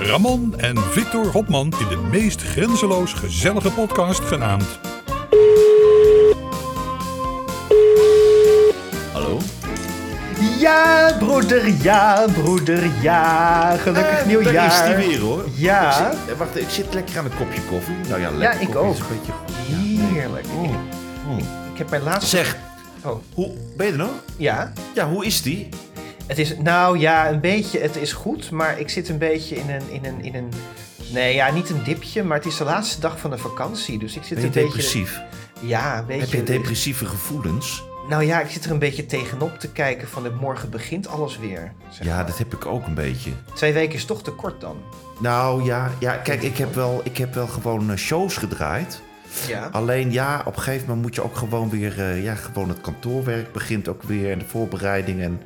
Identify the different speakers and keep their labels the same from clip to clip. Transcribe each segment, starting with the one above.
Speaker 1: Ramon en Victor Hopman in de meest grenzeloos gezellige podcast genaamd
Speaker 2: Hallo?
Speaker 3: Ja, broeder, ja, broeder, ja. Gelukkig
Speaker 4: Eh,
Speaker 3: nieuwjaar.
Speaker 4: Daar is die weer hoor.
Speaker 3: Ja.
Speaker 4: Ik zit, eh, wacht, ik zit lekker aan een kopje koffie. Nou ja, lekker
Speaker 3: ik
Speaker 4: koffie is
Speaker 3: ook.
Speaker 4: een beetje goed.
Speaker 3: Heerlijk. Mm, Ik, ik heb mijn laatste...
Speaker 4: Zeg,
Speaker 3: Oh,
Speaker 4: hoe, ben je er nou? nog?
Speaker 3: ja.
Speaker 4: Ja, hoe is die?
Speaker 3: Het is, nou ja, een beetje, het is goed, maar ik zit een beetje in een, in een, in een... Nee, ja, niet een dipje, maar het is de laatste dag van de vakantie, dus ik zit
Speaker 4: Ben je
Speaker 3: een beetje...
Speaker 4: depressief?
Speaker 3: Ja, een beetje...
Speaker 4: Heb je depressieve gevoelens?
Speaker 3: Nou ja, ik zit er een beetje tegenop te kijken van dit morgen begint alles weer. zeg
Speaker 4: Ja,
Speaker 3: maar.
Speaker 4: dat heb ik ook een beetje.
Speaker 3: Twee weken is toch te kort dan.
Speaker 4: Nou ja, ja kijk, ik heb wel, ik heb wel gewoon eh, shows gedraaid.
Speaker 3: Ja.
Speaker 4: Alleen ja, op een gegeven moment moet je ook gewoon weer... eh, ja, gewoon het kantoorwerk begint ook weer en de voorbereiding. En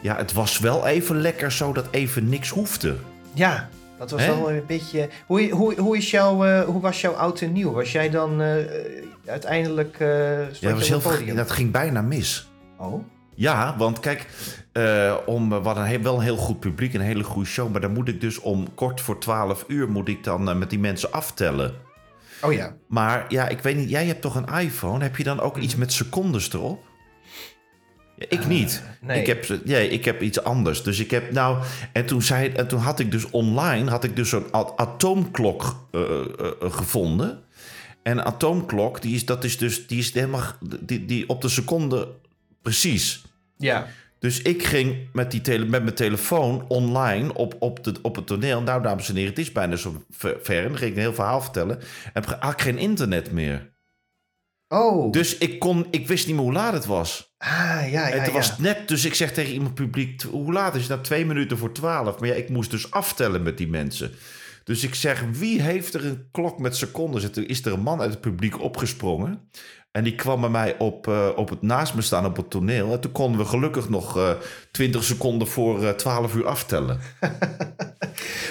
Speaker 4: ja, het was wel even lekker zo dat even niks hoefde.
Speaker 3: Ja, dat was
Speaker 4: Hè?
Speaker 3: wel een beetje. Hoe, hoe, hoe, is jouw, eh, hoe was jouw oud en nieuw? Was jij dan eh, uiteindelijk. eh
Speaker 4: Ja,
Speaker 3: stond je
Speaker 4: dat,
Speaker 3: op
Speaker 4: was
Speaker 3: het
Speaker 4: heel,
Speaker 3: podium?
Speaker 4: dat ging bijna mis.
Speaker 3: Oh,
Speaker 4: Ja, want kijk, eh, om, we hadden een heel- wel een heel goed publiek, een hele goede show. Maar dan moet ik dus om kort voor 12 uur moet ik dan eh, met die mensen aftellen.
Speaker 3: oh ja.
Speaker 4: Maar ja, ik weet niet, jij hebt toch een iPhone? Heb je dan ook iets met secondes erop? Ja, ik niet.
Speaker 3: nee.
Speaker 4: Ik, heb, nee, ik heb iets anders. Dus ik heb nou. En toen, zei, en toen had ik dus online had ik dus een a- atoomklok eh, eh, eh, gevonden. En een atoomklok, die is, dat is dus die is helemaal g- die, die op de seconde precies.
Speaker 3: Ja.
Speaker 4: Dus ik ging met, die tele, met mijn telefoon online op, op, de, op het toneel. Nou, dames en heren, het is bijna zo ver. ver. En dan ging ik een heel verhaal vertellen. En heb ge- had ik geen internet meer.
Speaker 3: Oh,
Speaker 4: Dus ik, kon, ik wist niet meer hoe laat het was.
Speaker 3: ah, ja,
Speaker 4: en
Speaker 3: ja.
Speaker 4: toen
Speaker 3: ja.
Speaker 4: was het net, dus ik zeg tegen iemand publiek... "T- Hoe laat is het? Nou, twee minuten voor twaalf. Maar ja, ik moest dus aftellen met die mensen. Dus ik zeg, wie heeft er een klok met secondes? En toen is er een man uit het publiek opgesprongen. En die kwam bij mij op, eh, op het, naast me staan op het toneel. En toen konden we gelukkig nog eh 20 seconden voor eh, 12 uur aftellen.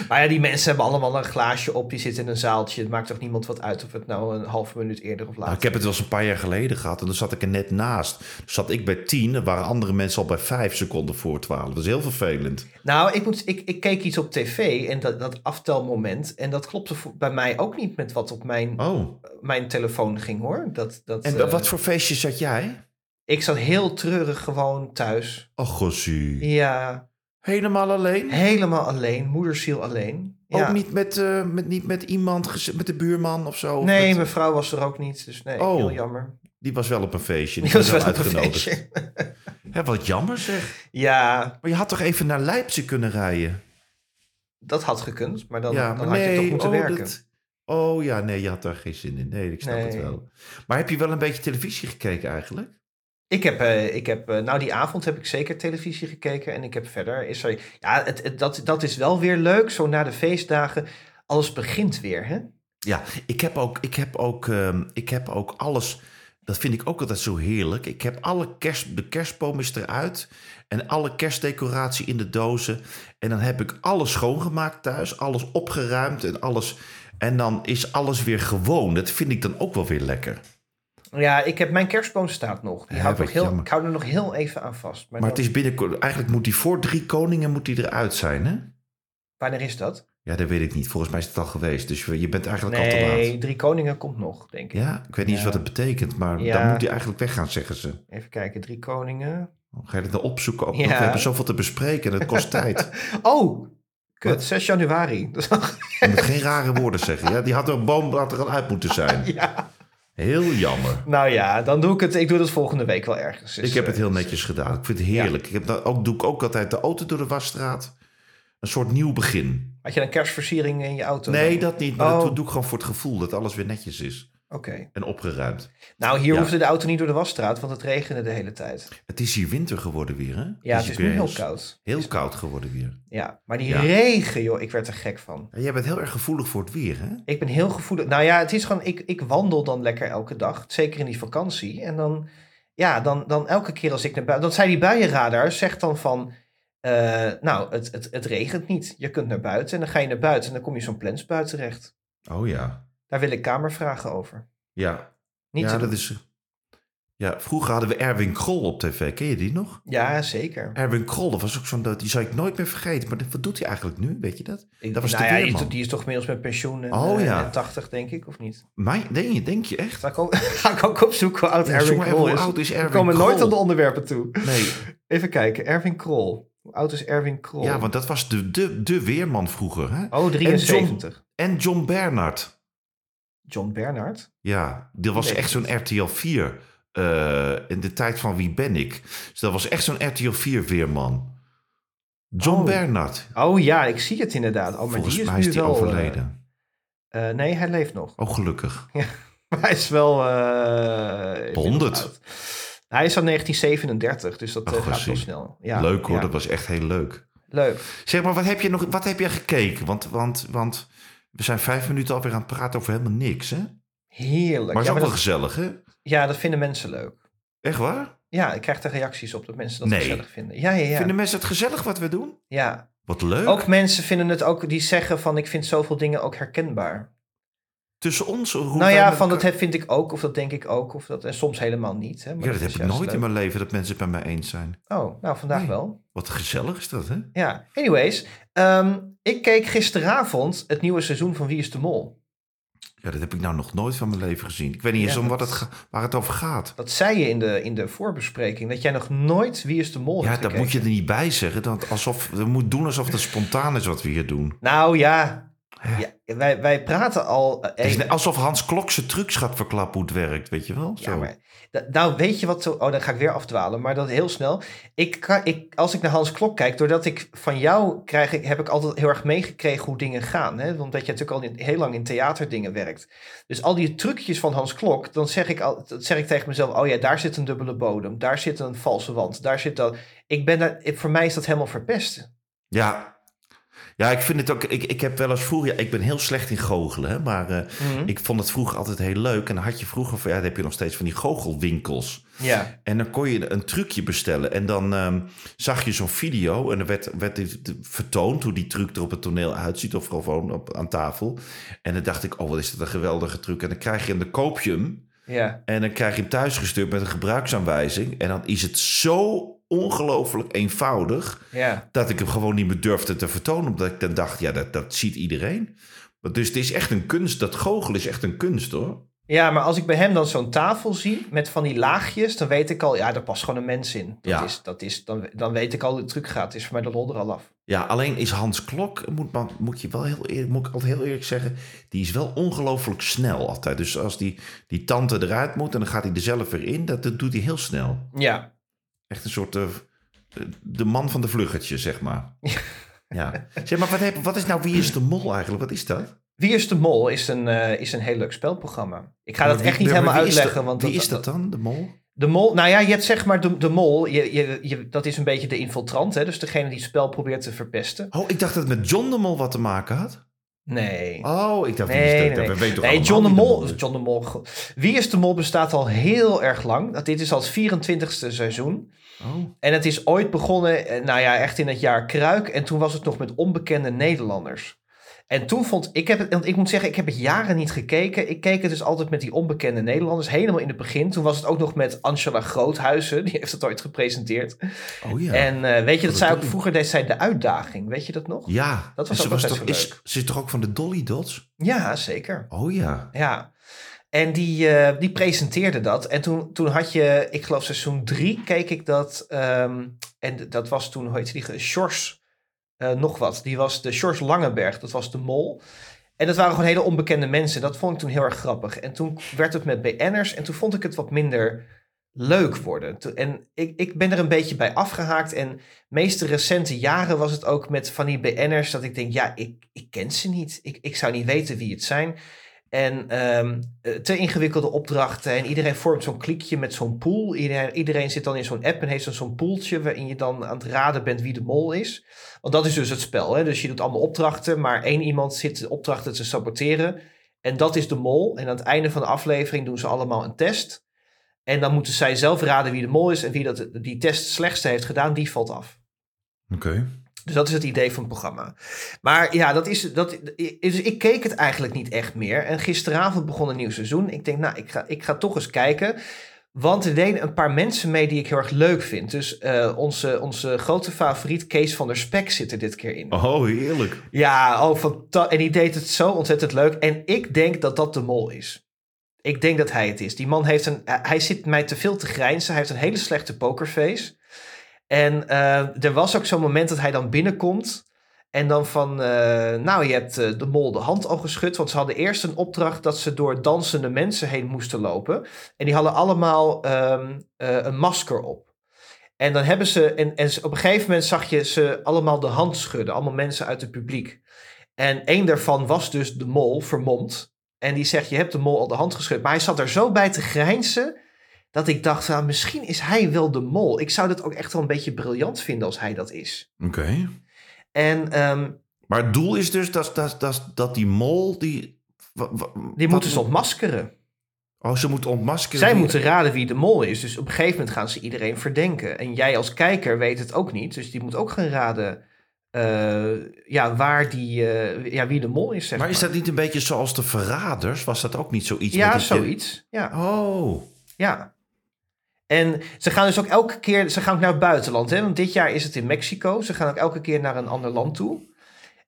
Speaker 3: Maar ja, die mensen hebben allemaal een glaasje op, die zitten in een zaaltje. Het maakt toch niemand wat uit of het nou een halve minuut eerder of
Speaker 4: Nou,
Speaker 3: later.
Speaker 4: ik heb het wel eens een paar jaar geleden gehad. En dan zat ik er net naast. Dan zat ik bij 10. Er waren andere mensen al bij 5 seconden voor 12. Dat is heel vervelend.
Speaker 3: Nou, ik, moet, ik, ik keek iets op tv en dat, dat aftelmoment. En dat klopte voor- bij mij ook niet met wat op mijn,
Speaker 4: Oh.
Speaker 3: mijn telefoon ging hoor. Dat, dat,
Speaker 4: En
Speaker 3: eh,
Speaker 4: wat voor feestje zat jij?
Speaker 3: Ik zat heel treurig gewoon thuis.
Speaker 4: Ach, gossie.
Speaker 3: Ja,
Speaker 4: Helemaal alleen?
Speaker 3: Helemaal alleen, moederziel alleen. Ja.
Speaker 4: Ook niet met, eh, met, niet met iemand, gez- met de buurman of zo? Of
Speaker 3: Nee,
Speaker 4: met-
Speaker 3: mijn vrouw was er ook niet, dus nee,
Speaker 4: Oh.
Speaker 3: heel jammer.
Speaker 4: Die was wel op een feestje. Die
Speaker 3: Die
Speaker 4: was
Speaker 3: was
Speaker 4: wel
Speaker 3: wel een
Speaker 4: uitgenodigd.
Speaker 3: feestje.
Speaker 4: Hè, wat jammer zeg.
Speaker 3: Ja,
Speaker 4: Maar je had toch even naar Leipzig kunnen rijden?
Speaker 3: dat had gekund, maar dan,
Speaker 4: ja,
Speaker 3: dan
Speaker 4: maar
Speaker 3: had je toch moeten
Speaker 4: oh,
Speaker 3: werken.
Speaker 4: dat- oh ja, nee, je had daar geen zin in. Nee, ik snap het
Speaker 3: Nee.
Speaker 4: wel. Maar heb je wel een beetje televisie gekeken eigenlijk?
Speaker 3: Ik heb, eh, ik heb eh, nou die avond heb ik zeker televisie gekeken en ik heb verder, is er, ja, het, het- dat, dat is wel weer leuk, zo na de feestdagen, alles begint weer, hè?
Speaker 4: Ja, ik heb ook, ik heb ook, ehm, ik heb ook alles. Dat vind ik ook altijd zo heerlijk. Ik heb alle kerst, de kerstboom is eruit en alle kerstdecoratie in de dozen. En dan heb ik alles schoongemaakt thuis, alles opgeruimd en alles. En dan is alles weer gewoon. Dat vind ik dan ook wel weer lekker.
Speaker 3: Ja, ik heb, mijn kerstboom staat nog, die
Speaker 4: Ja,
Speaker 3: houdt
Speaker 4: wat
Speaker 3: nog heel,
Speaker 4: jammer.
Speaker 3: ik hou er nog heel even aan vast. Maar,
Speaker 4: Maar het
Speaker 3: dan-
Speaker 4: is binnenkort. Eigenlijk moet die voor drie koningen moet die eruit zijn, hè?
Speaker 3: wanneer is dat?
Speaker 4: Ja, dat weet ik niet. Volgens mij is het al geweest. Dus je bent eigenlijk al te
Speaker 3: Nee,
Speaker 4: laat.
Speaker 3: Drie Koningen komt nog, denk ik.
Speaker 4: Ja, ik weet niet eens
Speaker 3: Ja.
Speaker 4: wat het betekent, maar
Speaker 3: Ja.
Speaker 4: dan moet die eigenlijk weggaan, zeggen ze.
Speaker 3: Even kijken, Drie Koningen,
Speaker 4: Ga je dat nou opzoeken? Ook nog?
Speaker 3: Ja.
Speaker 4: We hebben zoveel te bespreken en het kost tijd.
Speaker 3: Oh, kut,
Speaker 4: Wat?
Speaker 3: 6 januari. Dat is nog-
Speaker 4: Je moet geen rare woorden zeggen. Ja, die had er een boom had er al uit moeten zijn.
Speaker 3: ja.
Speaker 4: Heel jammer.
Speaker 3: Nou ja, dan doe ik het. Ik doe dat volgende week wel ergens. Dus,
Speaker 4: Ik heb het
Speaker 3: eh,
Speaker 4: heel netjes gedaan. Ik vind het heerlijk. Ik heb dat ook, doe ik ook altijd de auto door de wasstraat. Een soort nieuw begin.
Speaker 3: Had je dan kerstversiering in je auto?
Speaker 4: Nee,
Speaker 3: dan?
Speaker 4: dat niet. Maar
Speaker 3: Oh.
Speaker 4: dat doe ik gewoon voor het gevoel dat alles weer netjes is.
Speaker 3: Oké.
Speaker 4: en opgeruimd.
Speaker 3: Nou, hier
Speaker 4: Ja.
Speaker 3: hoefde de auto niet door de wasstraat, want het regende de hele tijd.
Speaker 4: Het is hier winter geworden weer, hè?
Speaker 3: Ja, het
Speaker 4: hier
Speaker 3: is
Speaker 4: weer
Speaker 3: nu heel koud.
Speaker 4: Heel koud geworden weer.
Speaker 3: Ja, maar die
Speaker 4: Ja.
Speaker 3: regen, joh, ik werd er gek van.
Speaker 4: En jij bent heel erg gevoelig voor het weer, hè?
Speaker 3: Ik ben heel gevoelig. Nou ja, het is gewoon, ik, ik wandel dan lekker elke dag. Zeker in die vakantie. En dan, ja, dan, dan elke keer als ik naar buiten... Dat zei die buienradar, zegt dan van... eh, nou, het, het, het regent niet. Je kunt naar buiten. En dan ga je naar buiten en dan kom je zo'n plensbuit terecht.
Speaker 4: Oh ja.
Speaker 3: Daar wil ik kamervragen over.
Speaker 4: Ja,
Speaker 3: Niet
Speaker 4: ja
Speaker 3: te
Speaker 4: dat
Speaker 3: doen.
Speaker 4: is... eh, Ja, vroeger hadden we Erwin Krol op tv. Ken je die nog?
Speaker 3: Ja, zeker.
Speaker 4: Erwin Krol, dat was ook zo'n... dat- Die zou ik nooit meer vergeten. Maar wat doet hij eigenlijk nu? Weet je dat?
Speaker 3: Ik-
Speaker 4: Dat was
Speaker 3: nou
Speaker 4: de
Speaker 3: ja, die, is
Speaker 4: weerman.
Speaker 3: toch- die is toch inmiddels met pensioen en,
Speaker 4: Oh,
Speaker 3: eh,
Speaker 4: ja.
Speaker 3: en 80, denk ik, of niet?
Speaker 4: Mijn, denk, je, denk je echt?
Speaker 3: Ga ik ook, ga ik ook opzoeken hoe oud
Speaker 4: Ja, zoek
Speaker 3: Erwin
Speaker 4: maar even
Speaker 3: Krol
Speaker 4: hoe
Speaker 3: is.
Speaker 4: oud is
Speaker 3: We
Speaker 4: Erwin
Speaker 3: komen nooit
Speaker 4: Krol?
Speaker 3: aan de onderwerpen toe.
Speaker 4: Nee,
Speaker 3: Even kijken, Erwin Krol. Hoe oud is Erwin Krol?
Speaker 4: ja, want dat was de, de, de weerman vroeger, hè?
Speaker 3: Oh, 73.
Speaker 4: En John Bernard.
Speaker 3: John Bernard.
Speaker 4: Ja, dat was
Speaker 3: Nee.
Speaker 4: echt zo'n RTL 4. eh, in de tijd van Wie ben ik? Dus dat was echt zo'n RTL 4 weerman. John
Speaker 3: Oh.
Speaker 4: Bernard.
Speaker 3: Oh ja, ik zie het inderdaad. Oh, maar
Speaker 4: Volgens
Speaker 3: die is
Speaker 4: mij is
Speaker 3: nu
Speaker 4: die
Speaker 3: wel, eh,
Speaker 4: overleden.
Speaker 3: eh, nee, hij leeft nog.
Speaker 4: Oh, gelukkig.
Speaker 3: Maar hij is wel... eh,
Speaker 4: 100.
Speaker 3: oud. Hij is al 1937, dus dat eh,
Speaker 4: Ach,
Speaker 3: gaat wel
Speaker 4: Oh, precies.
Speaker 3: snel. Ja,
Speaker 4: leuk hoor,
Speaker 3: ja.
Speaker 4: dat was echt heel leuk.
Speaker 3: Leuk.
Speaker 4: Zeg maar, wat heb je nog wat heb je gekeken? Want, want, want we zijn vijf minuten alweer aan het praten over helemaal niks, hè? Maar
Speaker 3: Heerlijk.
Speaker 4: het is
Speaker 3: ja,
Speaker 4: ook wel
Speaker 3: dat,
Speaker 4: gezellig, hè?
Speaker 3: ja, dat vinden mensen leuk.
Speaker 4: Echt waar?
Speaker 3: Ja, ik krijg er reacties op dat mensen dat
Speaker 4: Nee.
Speaker 3: gezellig vinden. Ja, ja, ja.
Speaker 4: Vinden mensen het gezellig wat we doen?
Speaker 3: ja.
Speaker 4: Wat leuk.
Speaker 3: Ook mensen vinden het ook, die zeggen van ik vind zoveel dingen ook herkenbaar.
Speaker 4: Tussen ons. Hoe
Speaker 3: nou
Speaker 4: wij
Speaker 3: ja,
Speaker 4: met
Speaker 3: van dat
Speaker 4: elkaar-
Speaker 3: heb- vind ik ook, of dat denk ik ook, of dat, en soms helemaal niet. Hè, maar
Speaker 4: Ja, dat heb
Speaker 3: is
Speaker 4: ik
Speaker 3: juist
Speaker 4: nooit in
Speaker 3: leuk.
Speaker 4: mijn leven dat mensen het met mij eens zijn.
Speaker 3: Oh, nou vandaag
Speaker 4: Nee.
Speaker 3: wel.
Speaker 4: Wat gezellig is dat, hè?
Speaker 3: Ja, anyways. ehm, ik keek gisteravond het nieuwe seizoen van Wie is de Mol.
Speaker 4: Ja, dat heb ik nou nog nooit van mijn leven gezien. Ik weet niet
Speaker 3: Ja,
Speaker 4: eens om
Speaker 3: dat-
Speaker 4: wat het ga- waar het over gaat.
Speaker 3: Dat zei je in de, in de voorbespreking, dat jij nog nooit Wie is de Mol
Speaker 4: Ja,
Speaker 3: hebt
Speaker 4: dat moet
Speaker 3: gekeken.
Speaker 4: je er niet bij zeggen. Dat alsof, we moeten doen alsof het spontaan is wat we hier doen.
Speaker 3: Nou ja, ja wij, wij praten al... eh,
Speaker 4: Het is net alsof Hans Klok zijn trucs gaat verklappen hoe het werkt, weet je wel? Zo.
Speaker 3: Ja, maar, da- nou, weet je wat... zo- Oh, dan ga ik weer afdwalen, maar dat heel snel. Ik, kan- ik, als ik naar Hans Klok kijk, doordat ik van jou krijg... Ik, heb ik altijd heel erg meegekregen hoe dingen gaan. Hè? Omdat je natuurlijk al in- heel lang in theaterdingen werkt. Dus al die trucjes van Hans Klok, dan zeg ik, al, dat zeg ik tegen mezelf... oh ja, daar zit een dubbele bodem, daar zit een valse wand, daar zit dat... Ik ben daar, ik- voor mij is dat helemaal verpest.
Speaker 4: Ja. Ja, ik vind het ook. Ik, ik heb wel eens vroeger. ja, ik ben heel slecht in goochelen, hè, maar eh, ik vond het vroeger altijd heel leuk. En dan had je vroeger. van, Ja, dan heb je nog steeds van die goochelwinkels.
Speaker 3: Ja.
Speaker 4: En dan kon je een trucje bestellen. En dan ehm, zag je zo'n video. En er werd, werd dit vertoond hoe die truc er op het toneel uitziet. Of gewoon op, aan tafel. En dan dacht ik, oh wat is dat een geweldige truc. En dan krijg je hem, dan koop je hem.
Speaker 3: Ja.
Speaker 4: En dan krijg je hem thuisgestuurd met een gebruiksaanwijzing. En dan is het zo ongelooflijk eenvoudig.
Speaker 3: Ja.
Speaker 4: Dat ik hem gewoon niet meer durfde te vertonen. Omdat ik dan dacht, ja dat, dat ziet iedereen. Want Dus het is echt een kunst. Dat goochelen is echt een kunst hoor.
Speaker 3: Ja, maar als ik bij hem dan zo'n tafel zie met van die laagjes, dan weet ik al, ja, daar past gewoon een mens in. Dat
Speaker 4: Ja.
Speaker 3: is, dat is, dan, dan weet ik al hoe de truc gaat. Het is voor mij de lol er al af.
Speaker 4: Ja, alleen is Hans Klok, moet, man- moet, je wel heel eerlijk, moet ik altijd heel eerlijk zeggen, die is wel ongelooflijk snel altijd. Dus als die, die tante eruit moet en dan gaat hij er zelf weer in, dat, dat doet hij heel snel.
Speaker 3: Ja.
Speaker 4: Echt een soort eh, de man van de vluggertje, zeg maar. Ja. Zeg maar, wat, heb, wat is nou Wie is de Mol eigenlijk? Wat is dat?
Speaker 3: Wie is de Mol is een, eh, is een heel leuk spelprogramma. Ik ga dat
Speaker 4: Maar
Speaker 3: echt
Speaker 4: wie-
Speaker 3: niet
Speaker 4: maar
Speaker 3: helemaal
Speaker 4: wie is
Speaker 3: uitleggen.
Speaker 4: dat-
Speaker 3: want
Speaker 4: wie is dat dan, de Mol?
Speaker 3: De Mol, nou ja, je hebt zeg maar de, de Mol, je, je, je, dat is een beetje de infiltrant, hè? dus degene die het spel probeert te verpesten.
Speaker 4: Oh, ik dacht dat het met John de Mol wat te maken had.
Speaker 3: Nee.
Speaker 4: Oh, ik dacht, wie is
Speaker 3: Nee,
Speaker 4: dat?
Speaker 3: nee, nee.
Speaker 4: We weten toch
Speaker 3: Nee,
Speaker 4: allemaal
Speaker 3: John de
Speaker 4: wie
Speaker 3: Mol. John de Mol. go- Wie is de Mol bestaat al heel erg lang. Dat- Dit is al het 24ste seizoen.
Speaker 4: Oh.
Speaker 3: En het is ooit begonnen, eh, nou ja, echt in het jaar Kruik. En toen was het nog met onbekende Nederlanders. En toen vond ik, heb het, want ik moet zeggen, ik heb het jaren niet gekeken. Ik keek het dus altijd met die onbekende Nederlanders, helemaal in het begin. Toen was het ook nog met Angela Groothuizen, die heeft het ooit gepresenteerd.
Speaker 4: Oh ja.
Speaker 3: En eh, weet je, dat
Speaker 4: dat
Speaker 3: zij
Speaker 4: doet
Speaker 3: ook
Speaker 4: hij.
Speaker 3: vroeger deed zij de uitdaging, weet je dat nog?
Speaker 4: ja.
Speaker 3: Dat was
Speaker 4: En ze
Speaker 3: ook altijd
Speaker 4: toch,
Speaker 3: zo
Speaker 4: is,
Speaker 3: leuk.
Speaker 4: ze is toch ook van de Dolly Dots?
Speaker 3: Ja, zeker.
Speaker 4: Oh ja.
Speaker 3: Ja. En die, eh, die presenteerde dat. En toen, toen had je, ik geloof seizoen drie, keek ik dat. ehm, en dat was toen, hoe heette die? ge- Sjors eh, nog wat. Die was de Sjors Langenberg. Dat was de mol. En dat waren gewoon hele onbekende mensen. Dat vond ik toen heel erg grappig. En toen werd het met BN'ers. En toen vond ik het wat minder leuk worden. Toen- En ik, ik ben er een beetje bij afgehaakt. En de meeste recente jaren was het ook met van die BN'ers... dat ik denk, ja, ik, ik ken ze niet. Ik, ik zou niet weten wie het zijn. En ehm, eh, te ingewikkelde opdrachten. En iedereen vormt zo'n kliekje met zo'n pool. Iedereen, iedereen zit dan in zo'n app en heeft dan zo'n poeltje waarin je dan aan het raden bent wie de mol is. Want dat is dus het spel. Hè? Dus je doet allemaal opdrachten, maar één iemand zit de opdrachten te saboteren. En dat is de mol. En aan het einde van de aflevering doen ze allemaal een test. En dan moeten zij zelf raden wie de mol is. En wie dat, die test slechtste heeft gedaan, die valt af.
Speaker 1: Oké.
Speaker 3: Dus dat is het idee van het programma. Maar ja, dat is, dat is, ik keek het eigenlijk niet echt meer. En gisteravond begon een nieuw seizoen. Ik denk, nou, ik ga, ik ga toch eens kijken. Want er deden een paar mensen mee die ik heel erg leuk vind. Dus eh, onze, onze grote favoriet Kees van der Spek zit er dit keer in.
Speaker 4: Oh, heerlijk.
Speaker 3: Ja, oh, fanta- en die deed het zo ontzettend leuk. En ik denk dat dat de mol is. Ik denk dat hij het is. Die man heeft een. Hij zit mij te veel te grijnzen. Hij heeft een hele slechte pokerface. En eh, er was ook zo'n moment dat hij dan binnenkomt. En dan van. eh, nou, je hebt eh, de mol de hand al geschud. Want ze hadden eerst een opdracht dat ze door dansende mensen heen moesten lopen. En die hadden allemaal ehm, eh, een masker op. En dan hebben ze, en, en ze- op een gegeven moment zag je ze allemaal de hand schudden, allemaal mensen uit het publiek. En één daarvan was dus de mol, vermomd. En die zegt, je hebt de mol al de hand geschud. Maar hij zat er zo bij te grijnzen, dat ik dacht, nou, misschien is hij wel de mol. Ik zou dat ook echt wel een beetje briljant vinden als hij dat is.
Speaker 1: Oké.
Speaker 3: En ehm,
Speaker 4: Maar het doel is dus dat, dat, dat, dat die mol... Die, wa- wa-
Speaker 3: die
Speaker 4: wat-
Speaker 3: moeten ze ontmaskeren.
Speaker 4: Oh, ze moet ontmaskeren.
Speaker 3: Zij
Speaker 4: Wie-
Speaker 3: moeten raden wie de mol is. Dus op een gegeven moment gaan ze iedereen verdenken. En jij als kijker weet het ook niet. Dus die moet ook gaan raden eh, ja, waar die, eh, ja, wie de mol is. Zeg maar,
Speaker 4: Maar is dat niet een beetje zoals de verraders? Was dat ook niet zoiets?
Speaker 3: ja,
Speaker 4: met die-
Speaker 3: zoiets. Ja,
Speaker 4: Oh,
Speaker 3: ja. En ze gaan dus ook elke keer ze gaan ook naar het buitenland. Hè? Want dit jaar is het in Mexico. Ze gaan ook elke keer naar een ander land toe.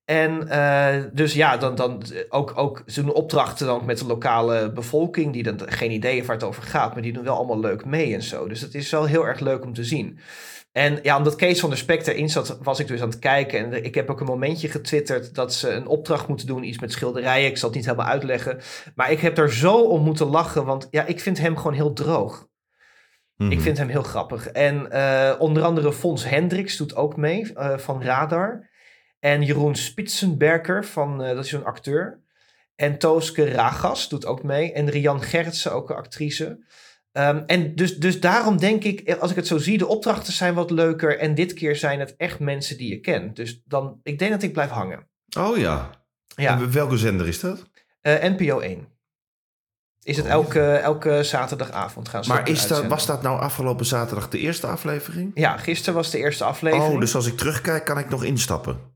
Speaker 3: En eh, dus ja, dan, dan ook, ook, ze doen opdrachten dan met de lokale bevolking, die dan geen idee heeft waar het over gaat, maar die doen wel allemaal leuk mee en zo. Dus dat is wel heel erg leuk om te zien. En ja, omdat Kees van der Spek erin zat, was ik dus aan het kijken. En ik heb ook een momentje getwitterd dat ze een opdracht moeten doen, iets met schilderijen. Ik zal het niet helemaal uitleggen. Maar ik heb er zo om moeten lachen, want ja, ik vind hem gewoon heel droog.
Speaker 4: Mhm.
Speaker 3: Ik vind hem heel grappig. En eh, onder andere Fons Hendricks doet ook mee eh, van Radar. En Jeroen Spitsenberker, van, eh, dat is een acteur. En Tooske Ragas doet ook mee. En Rian Gerritsen, ook een actrice. Ehm, en dus, dus daarom denk ik, als ik het zo zie, de opdrachten zijn wat leuker. En dit keer zijn het echt mensen die je kent. Dus dan, ik denk dat ik blijf hangen.
Speaker 4: oh ja.
Speaker 3: Ja,
Speaker 4: En welke zender is dat?
Speaker 3: Eh, NPO 1. Is het elke, elke zaterdagavond gaan ze
Speaker 4: Oh. Maar is dat,
Speaker 3: uitzenden.
Speaker 4: was dat nou afgelopen zaterdag de eerste aflevering?
Speaker 3: Ja, gisteren was de eerste aflevering.
Speaker 4: Oh, dus als ik terugkijk, kan ik nog instappen.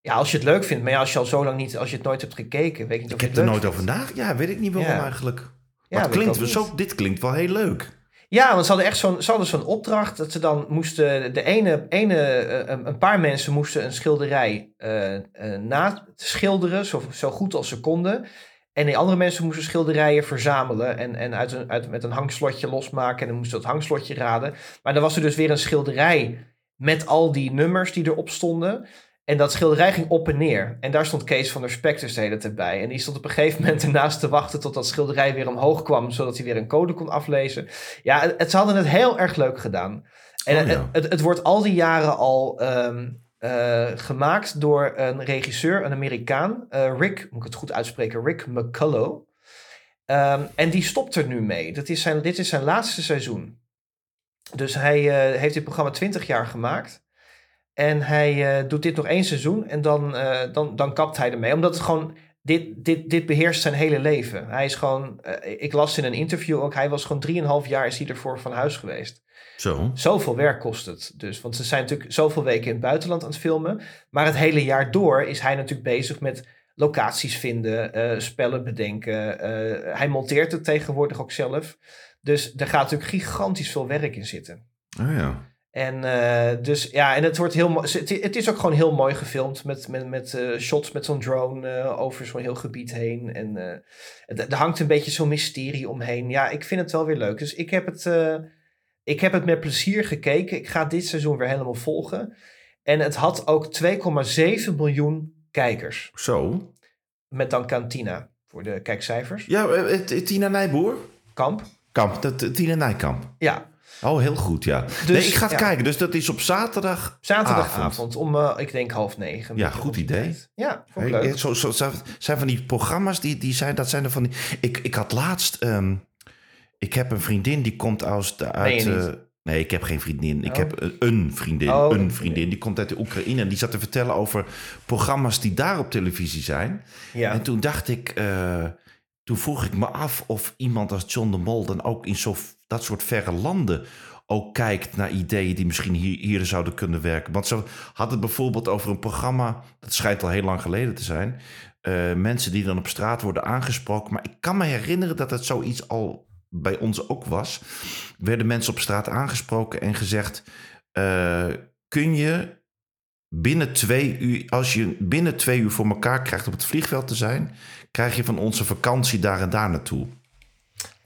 Speaker 3: Ja, als je het leuk vindt. Maar ja, als je al zo lang niet, als je het nooit hebt gekeken, weet ik niet
Speaker 4: Ik
Speaker 3: of je
Speaker 4: heb
Speaker 3: het
Speaker 4: er nooit
Speaker 3: leuk vindt.
Speaker 4: over nagedacht. Ja, weet ik niet waarom
Speaker 3: Ja.
Speaker 4: eigenlijk.
Speaker 3: Ja,
Speaker 4: Maar het
Speaker 3: weet ik
Speaker 4: klinkt,
Speaker 3: ook
Speaker 4: wel-
Speaker 3: niet.
Speaker 4: zo, dit klinkt wel heel leuk.
Speaker 3: Ja, want ze hadden echt zo'n, ze hadden zo'n opdracht dat ze dan moesten, de ene, ene eh, een een paar mensen moesten een schilderij eh eh, naschilderen, zo, zo goed als ze konden. En die andere mensen moesten schilderijen verzamelen en, en uit een, uit, met een hangslotje losmaken. En dan moesten ze dat hangslotje raden. Maar dan was er dus weer een schilderij met al die nummers die erop stonden. En dat schilderij ging op en neer. En daar stond Kees van der Spek dus de hele tijd bij. En die stond op een gegeven moment ernaast te wachten tot dat schilderij weer omhoog kwam, zodat hij weer een code kon aflezen. Ja, het, het- ze hadden het heel erg leuk gedaan. En
Speaker 4: Oh, ja.
Speaker 3: het, het, het wordt al die jaren al ehm, eh, gemaakt door een regisseur, een Amerikaan, eh, Rick, moet ik het goed uitspreken, Rick McCullough. Ehm, en die stopt er nu mee. Dat is zijn, dit is zijn laatste seizoen. Dus hij eh, heeft dit programma 20 jaar gemaakt. En hij eh, doet dit nog één seizoen en dan, eh, dan, dan kapt hij ermee. Omdat het gewoon, dit, dit, dit beheerst zijn hele leven. Hij is gewoon, eh, ik las in een interview ook, hij was gewoon 3,5 jaar is hij ervoor van huis geweest.
Speaker 4: Zo.
Speaker 3: Zoveel werk kost het dus. Want ze zijn natuurlijk zoveel weken in het buitenland aan het filmen. Maar het hele jaar door is hij natuurlijk bezig met locaties vinden, eh, spellen bedenken. eh, hij monteert het tegenwoordig ook zelf. Dus daar gaat natuurlijk gigantisch veel werk in zitten.
Speaker 4: Oh ja.
Speaker 3: En, eh, dus, ja, en het, wordt heel mooi- het, het is ook gewoon heel mooi gefilmd. Met, met, met eh, shots met zo'n drone eh, over zo'n heel gebied heen. En eh, het- er hangt een beetje zo'n mysterie omheen. Ja, ik vind het wel weer leuk. Dus ik heb het, eh, ik heb het met plezier gekeken. Ik ga dit seizoen weer helemaal volgen. En het had ook 2,7 miljoen kijkers.
Speaker 4: Zo.
Speaker 3: Met dan Cantina voor de kijkcijfers.
Speaker 4: Ja, eh, eh, Tina Nijboer?
Speaker 3: Kamp.
Speaker 4: Kamp, dat, Tina Nijkamp.
Speaker 3: Ja.
Speaker 4: Oh, heel goed, ja. nee, ik ga het
Speaker 3: ja.
Speaker 4: kijken. Dus dat is op zaterdag. avond.
Speaker 3: Zaterdagavond om, eh, ik denk, half negen.
Speaker 4: Ja, goed idee.
Speaker 3: Ja, vond ik
Speaker 4: Hey,
Speaker 3: leuk.
Speaker 4: ja, Zo, zo, zo- zijn van die programma's die, die zijn, dat zijn er van die. Ik, ik had laatst. ehm, ik heb een vriendin die komt uit. de- uit
Speaker 3: je niet.
Speaker 4: eh, nee, ik heb geen vriendin. Ik
Speaker 3: Oh.
Speaker 4: heb een, een vriendin.
Speaker 3: Oh, een
Speaker 4: een
Speaker 3: vriendin.
Speaker 4: vriendin. Die komt uit de Oekraïne. En die zat te vertellen over programma's die daar op televisie zijn.
Speaker 3: Ja.
Speaker 4: En toen dacht ik. eh, toen vroeg ik me af of iemand als John de Mol dan ook in zo, dat soort verre landen ook kijkt naar ideeën die misschien hier, hier zouden kunnen werken. Want ze had het bijvoorbeeld over een programma, dat schijnt al heel lang geleden te zijn, eh, mensen die dan op straat worden aangesproken. Maar ik kan me herinneren dat het zoiets al bij ons ook was. Werden mensen op straat aangesproken en gezegd, eh, kun je binnen twee uur, als je binnen twee uur voor elkaar krijgt op het vliegveld te zijn, krijg je van onze vakantie daar en daar naartoe.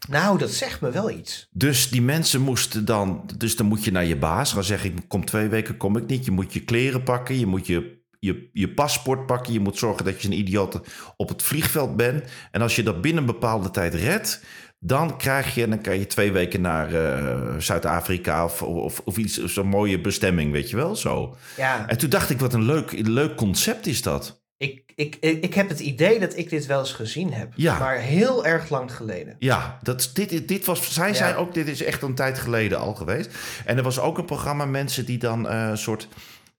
Speaker 3: Nou, dat zegt me wel iets.
Speaker 4: Dus die mensen moesten dan, dus dan moet je naar je baas gaan zeggen, ik kom twee weken, kom ik niet. Je moet je kleren pakken, je moet je, je, je paspoort pakken, je moet zorgen dat je een idioot op het vliegveld bent. En als je dat binnen een bepaalde tijd redt, dan krijg je, dan kan je twee weken naar eh, Zuid-Afrika of, of, of iets, of zo'n mooie bestemming, weet je wel, zo.
Speaker 3: Ja,
Speaker 4: En toen dacht ik, wat een leuk, leuk concept is dat.
Speaker 3: ik, ik, ik, ik heb het idee dat ik dit wel eens gezien heb.
Speaker 4: Ja.
Speaker 3: Maar heel erg lang geleden.
Speaker 4: Ja, dat, dit, dit was, zij
Speaker 3: Ja.
Speaker 4: zei ook, dit is echt een tijd geleden al geweest. En er was ook een programma mensen die dan eh, een soort...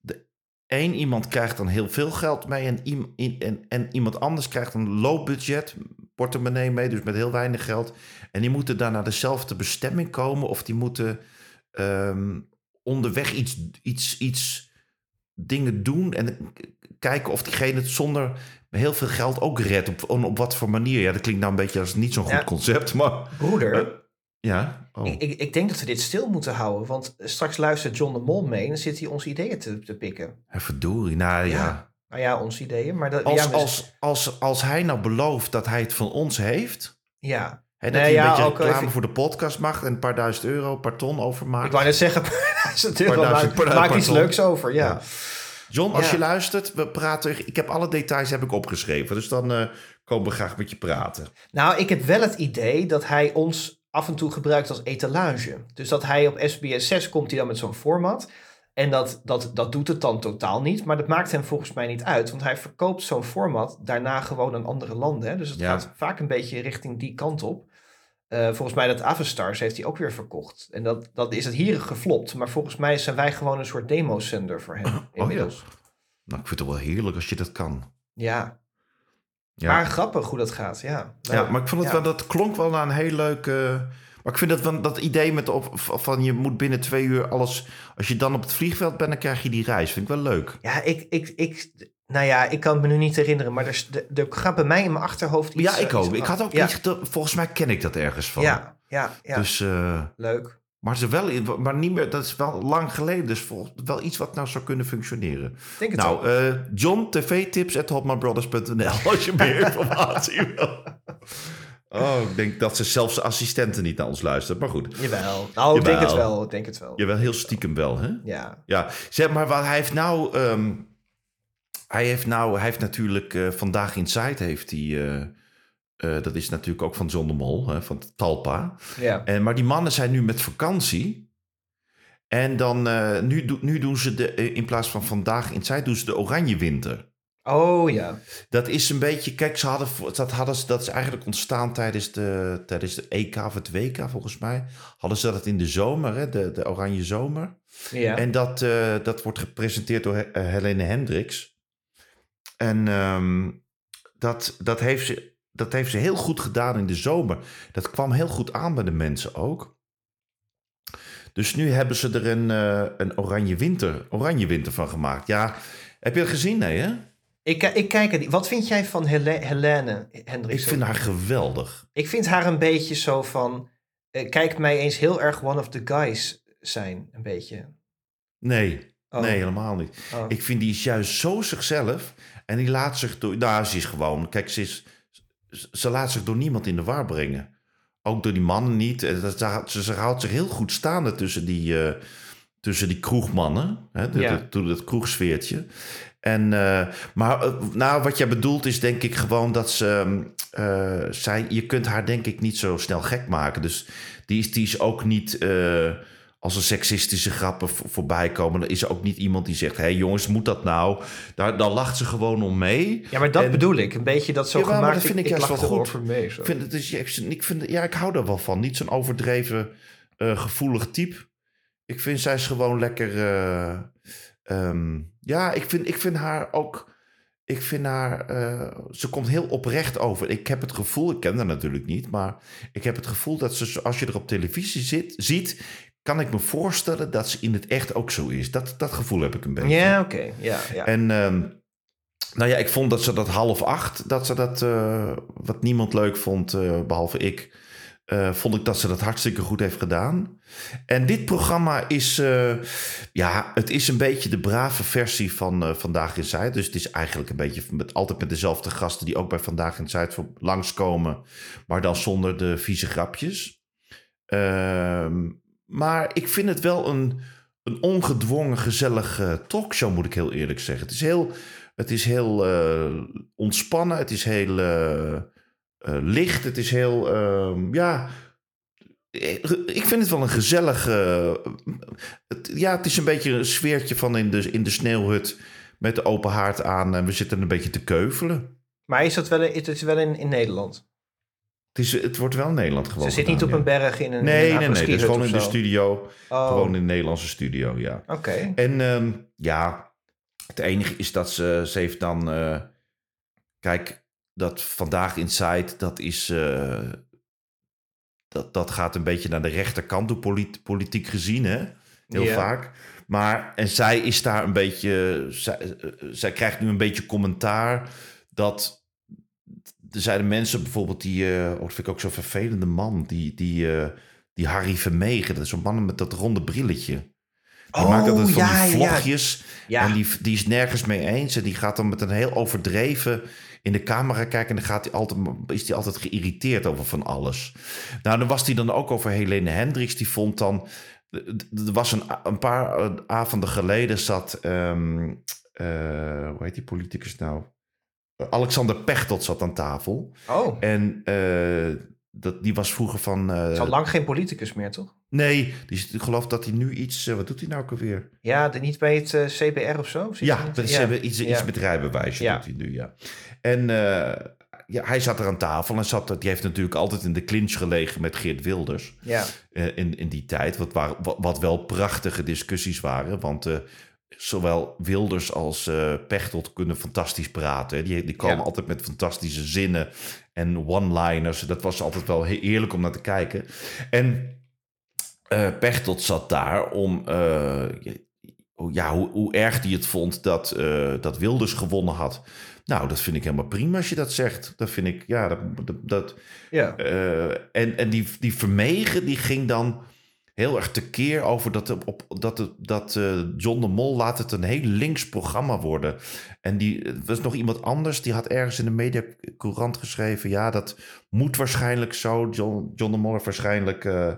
Speaker 4: De, één iemand krijgt dan heel veel geld mee en, iem- in- en, en iemand anders krijgt een low budget portemonnee mee, dus met heel weinig geld. En die moeten daar naar dezelfde bestemming komen of die moeten ehm, onderweg iets, iets, iets dingen doen en k- kijken of diegene het zonder heel veel geld ook redt. Op, op wat voor manier. Ja, dat klinkt nou een beetje als niet zo'n
Speaker 3: Ja.
Speaker 4: goed concept, maar...
Speaker 3: Broeder,
Speaker 4: Eh, Ja. Oh.
Speaker 3: ik, ik, ik denk dat we dit stil moeten houden. Want straks luistert John de Mol mee en dan zit hij onze ideeën te, te pikken.
Speaker 4: Eh, Verdorie. Nou ja.
Speaker 3: Ja. Nou ja, onze ideeën. Maar dat,
Speaker 4: Als,
Speaker 3: ja, dus- we-
Speaker 4: als, als, als hij nou belooft dat hij het van ons heeft.
Speaker 3: ja,
Speaker 4: Hè, dat
Speaker 3: Nee,
Speaker 4: hij een
Speaker 3: ja,
Speaker 4: beetje
Speaker 3: ook eh,
Speaker 4: reclame
Speaker 3: even-
Speaker 4: voor de podcast mag. En een paar duizend euro, een paar ton overmaakt.
Speaker 3: ik wou net zeggen, is het heel
Speaker 4: Maar
Speaker 3: wel
Speaker 4: daar
Speaker 3: maak,
Speaker 4: zit- maar-
Speaker 3: maak
Speaker 4: maar-
Speaker 3: iets leuks over. Ja.
Speaker 4: Ja. John, als
Speaker 3: Ja.
Speaker 4: je luistert, we praten. Ik heb alle details heb ik opgeschreven. Dus dan eh, komen we graag met je praten.
Speaker 3: Nou, ik heb wel het idee dat hij ons af en toe gebruikt als etalage. Dus dat hij op SBS6 komt hij dan met zo'n format. En dat, dat, dat doet het dan totaal niet. Maar dat maakt hem volgens mij niet uit. Want hij verkoopt zo'n format daarna gewoon aan andere landen. Hè? Dus het
Speaker 4: Ja.
Speaker 3: gaat vaak een beetje richting die kant op. Eh, volgens mij dat Avastars heeft hij ook weer verkocht. En dat, dat is het hier geflopt. Maar volgens mij zijn wij gewoon een soort demo-sender voor
Speaker 4: Oh,
Speaker 3: hem inmiddels.
Speaker 4: Nou, ik vind het wel heerlijk als je dat kan.
Speaker 3: ja.
Speaker 4: Ja.
Speaker 3: maar grappig hoe dat gaat. Ja, Nou,
Speaker 4: ja, maar ik vond het
Speaker 3: ja.
Speaker 4: wel, dat klonk wel naar een heel leuk. eh, maar ik vind dat, van- dat idee met op, van je moet binnen twee uur alles. Als je dan op het vliegveld bent, dan krijg je die reis. Vind ik wel leuk.
Speaker 3: Ja, ik, ik, ik, nou ja, ik kan het me nu niet herinneren, maar er, s- de- er gaat bij mij in mijn achterhoofd iets.
Speaker 4: ja, ik
Speaker 3: eh,
Speaker 4: ook.
Speaker 3: iets
Speaker 4: Ik had ook
Speaker 3: ja,
Speaker 4: iets. gete- Volgens mij ken ik dat ergens van.
Speaker 3: Ja, ja, ja.
Speaker 4: Dus, eh,
Speaker 3: leuk.
Speaker 4: maar, ze wel, maar niet meer, dat is wel lang geleden. Dus vol, wel iets wat nou zou kunnen functioneren.
Speaker 3: Ik Denk het
Speaker 4: Nou,
Speaker 3: nou,
Speaker 4: eh, John, tvtips at hotmanbrothers.nl als je meer informatie wil. Oh, ik denk dat ze zelfs de assistenten niet naar ons luisteren. Maar goed,
Speaker 3: jawel. Nou, ik denk het
Speaker 4: jawel.
Speaker 3: wel. Ik denk het wel.
Speaker 4: jawel, heel stiekem wel, hè?
Speaker 3: Ja.
Speaker 4: Ja, zeg maar, wat hij heeft nou... ehm, hij heeft nou, hij heeft natuurlijk... eh, vandaag Inside heeft hij... eh, eh, dat is natuurlijk ook van John de Mol, hè, van Talpa.
Speaker 3: Ja.
Speaker 4: En, maar die mannen zijn nu met vakantie. En dan, eh, nu, do- nu doen ze de, eh, in plaats van vandaag Inside, doen ze de Oranje Winter.
Speaker 3: Oh ja.
Speaker 4: Dat is een beetje, kijk, ze hadden, voor- dat, hadden ze, dat is eigenlijk ontstaan tijdens de, tijdens de EK of het WK volgens mij. Hadden ze dat in de zomer, hè, de, de Oranje Zomer.
Speaker 3: Ja.
Speaker 4: En dat, eh, dat wordt gepresenteerd door He- eh, Helene Hendricks. En ehm, dat, dat, heeft ze, dat heeft ze heel goed gedaan in de zomer. Dat kwam heel goed aan bij de mensen ook. Dus nu hebben ze er een, eh, een oranje, winter, oranje winter van gemaakt. Ja, heb je dat gezien? Nee, hè?
Speaker 3: ik, ki- ik kijk het. Wat vind jij van Hele, Helene
Speaker 4: Ik
Speaker 3: Hendricks?
Speaker 4: vind haar geweldig.
Speaker 3: ik vind haar een beetje zo van. eh, kijk mij eens heel erg one of the guys zijn. Een beetje.
Speaker 4: Nee,
Speaker 3: Oh,
Speaker 4: nee, helemaal niet.
Speaker 3: oh.
Speaker 4: Ik vind die is juist zo zichzelf en die laat zich door. Nou, ze is gewoon. Kijk, ze, is, ze laat zich door niemand in de war brengen. Ook door die mannen niet. En dat- Ze, ze, ze houdt zich heel goed staande tussen die, eh, tussen die kroegmannen. Hè, de-
Speaker 3: Ja.
Speaker 4: de- toen dat kroegsfeertje. En, eh, maar eh, nou, wat jij bedoelt is denk ik gewoon dat ze... ehm, eh, zij, je kunt haar denk ik niet zo snel gek maken. Dus die is, die is ook niet... eh, als er seksistische grappen vo- voorbij komen, dan is er ook niet iemand die zegt: hé hey jongens, moet dat nou? Daar, dan lacht ze gewoon om mee.
Speaker 3: Ja, maar dat
Speaker 4: En-
Speaker 3: bedoel ik. Een beetje dat zo
Speaker 4: Ja, maar
Speaker 3: gemaakt.
Speaker 4: dat vind ik juist
Speaker 3: lach
Speaker 4: wel goed.
Speaker 3: erover mee. Zo.
Speaker 4: Ik vind het dus, ja, ik, ik vind, ja, ik hou daar wel van. Niet zo'n overdreven eh, gevoelig type. Ik vind zij is gewoon lekker. eh, ehm, ja, ik vind, ik vind haar ook. Ik vind haar. eh, ze komt heel oprecht over. Ik heb het gevoel, ik ken haar natuurlijk niet, maar ik heb het gevoel dat ze, zo- als je er op televisie zit, ziet, kan ik me voorstellen dat ze in het echt ook zo is. Dat, dat gevoel heb ik een beetje.
Speaker 3: Ja, oké. Ja, ja.
Speaker 4: En ehm, nou ja, ik vond dat ze dat half acht, dat ze dat, eh, wat niemand leuk vond, eh, behalve ik, eh, vond ik dat ze dat hartstikke goed heeft gedaan. En dit programma is, eh, ja, het is een beetje de brave versie van eh, Vandaag in Zuid. Dus het is eigenlijk een beetje met, altijd met dezelfde gasten die ook bij Vandaag in Zuid voor- langskomen, maar dan zonder de vieze grapjes. Ehm, maar ik vind het wel een, een ongedwongen, gezellig eh, talkshow, moet ik heel eerlijk zeggen. Het is heel, het is heel eh, ontspannen, het is heel eh, eh, licht, het is heel, ehm, ja... Ik ik vind het wel een gezellige... Het, ja, het is een beetje een sfeertje van in de, in de sneeuwhut met de open haard aan en we zitten een beetje te keuvelen.
Speaker 3: Maar is dat wel, is het wel in, in Nederland?
Speaker 4: Het, is, het wordt wel in Nederland gewoon
Speaker 3: Ze zit
Speaker 4: gedaan,
Speaker 3: niet op
Speaker 4: ja.
Speaker 3: een berg in een.
Speaker 4: Nee,
Speaker 3: in een
Speaker 4: nee, nee. Het is
Speaker 3: afro-skihut
Speaker 4: gewoon
Speaker 3: of
Speaker 4: in de
Speaker 3: zo.
Speaker 4: studio.
Speaker 3: Oh,
Speaker 4: Gewoon in de Nederlandse studio, ja.
Speaker 3: Oké.
Speaker 4: En ehm, ja, het enige is dat ze, ze heeft dan... eh, kijk, dat Vandaag Inside, dat is... eh, dat, dat gaat een beetje naar de rechterkant, door polit- politiek gezien, hè? Heel
Speaker 3: Ja.
Speaker 4: vaak. Maar, en zij is daar een beetje... Zij, eh, zij krijgt nu een beetje commentaar dat... Er zijn mensen bijvoorbeeld die... eh, oh, dat vind ik ook zo'n vervelende man. Die, die, eh, die Harry Vermegen. Dat is zo'n man met dat ronde brilletje. Die
Speaker 3: Oh,
Speaker 4: maakt altijd van
Speaker 3: ja, ja.
Speaker 4: die vlogjes.
Speaker 3: Ja.
Speaker 4: En die, die is nergens mee eens. En die gaat dan met een heel overdreven in de camera kijken. En dan gaat hij altijd, is hij altijd geïrriteerd over van alles. Nou, dan was hij dan ook over Helene Hendricks. Die vond dan... Er was een, een paar eh, avonden geleden zat... ehm, eh, hoe heet die politicus nou? Alexander Pechtold zat aan tafel.
Speaker 3: Oh,
Speaker 4: En eh, dat, die was vroeger van... eh,
Speaker 3: het is al lang geen politicus meer, toch?
Speaker 4: nee, die, is- ik geloof dat hij nu iets... eh, wat doet hij nou ook alweer?
Speaker 3: Ja, de- niet bij het eh, CBR of zo? Zit hij
Speaker 4: Ja,
Speaker 3: niet-
Speaker 4: dat is hebben iets, iets
Speaker 3: Ja.
Speaker 4: met rijbewijs
Speaker 3: Ja.
Speaker 4: doet hij nu, ja. En eh, ja, hij zat er aan tafel en zat, er- die heeft natuurlijk altijd in de clinch gelegen met Geert Wilders
Speaker 3: Ja.
Speaker 4: eh, in, in die tijd. Wat, waren, wat, wat wel prachtige discussies waren, want eh, zowel Wilders als eh Pechtold kunnen fantastisch praten. hè. Die, die komen
Speaker 3: Ja.
Speaker 4: altijd met fantastische zinnen en one-liners. Dat was altijd wel he- heerlijk om naar te kijken. En eh Pechtold zat daar om... eh, oh ja, hoe, hoe erg die het vond dat, eh, dat Wilders gewonnen had. Nou, dat vind ik helemaal prima als je dat zegt. Dat vind ik, ja, dat, dat- dat,
Speaker 3: ja.
Speaker 4: eh, en en die, die Vermegen die ging dan heel erg tekeer over dat, er op, dat, er- dat eh, John de Mol laat het een heel links programma worden. En die er was nog iemand anders, die had ergens in de mediacourant geschreven... ja, dat moet waarschijnlijk zo. John, John de Mol heeft waarschijnlijk... eh,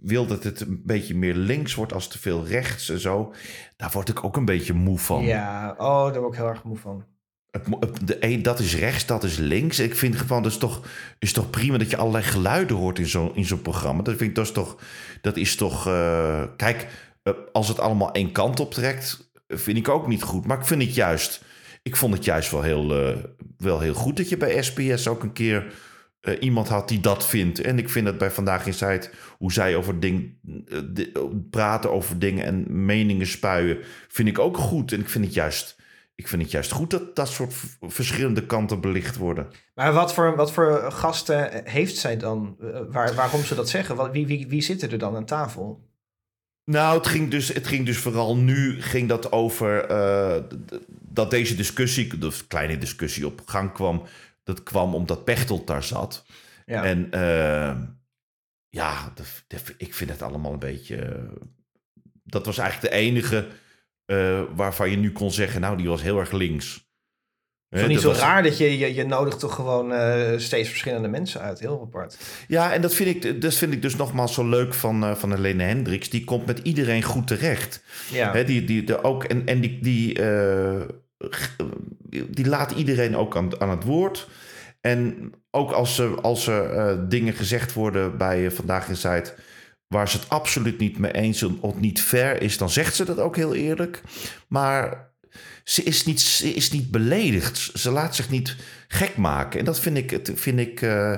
Speaker 4: wil dat het een beetje meer links wordt als te veel rechts en zo. Daar word ik ook een beetje moe van.
Speaker 3: ja, oh, daar word ik heel erg moe van.
Speaker 4: Het mo- het- de een, dat is rechts, dat is links. Ik vind gewoon, dat is toch, is toch prima dat je allerlei geluiden hoort in zo'n in zo'n programma. Dat, vind ik, dat is toch. Dat is toch eh, kijk, eh, als het allemaal één kant op trekt, eh, vind ik ook niet goed. Maar ik vind het juist. Ik vond het juist wel heel, eh, wel heel goed dat je bij SBS ook een keer eh, iemand had die dat vindt. En ik vind dat bij Vandaag in Zuid, hoe zij over dingen praten over dingen en meningen spuien, vind ik ook goed. En ik vind het juist, ik vind het juist goed dat dat soort v- verschillende kanten belicht worden.
Speaker 3: Maar wat voor, wat voor gasten heeft zij dan? Eh, Waar, waarom ze dat zeggen? Wat- Wie, wie, wie zitten er dan aan tafel?
Speaker 4: Nou, het ging dus, het ging dus vooral nu ging dat over eh, d- d- dat deze discussie, de kleine discussie op gang kwam. Dat kwam omdat Pechtold daar zat.
Speaker 3: Ja.
Speaker 4: En eh, ja, dat- dat- ik vind het allemaal een beetje. eh, Dat was eigenlijk de enige eh, waarvan je nu kon zeggen, nou, die was heel erg links.
Speaker 3: Het
Speaker 4: Hè, eh,
Speaker 3: is toch
Speaker 4: dat
Speaker 3: niet zo
Speaker 4: was-
Speaker 3: raar dat je, je, je nodigt toch gewoon eh, steeds verschillende mensen uit. Heel apart.
Speaker 4: Ja, en dat vind ik, dat vind ik dus nogmaals zo leuk van, eh, van Helene Hendricks. Die komt met iedereen goed terecht.
Speaker 3: Ja.
Speaker 4: Hè, die, die, de, ook, en en die, die, eh, g- die laat iedereen ook aan, aan het woord. En ook als, ze, als er eh, dingen gezegd worden bij eh, Vandaag in Zuid... waar ze het absoluut niet mee eens en of niet fair is, dan zegt ze dat ook heel eerlijk. Maar ze is niet, ze is niet beledigd. Ze laat zich niet gek maken. En dat vind ik, het- vind ik, eh,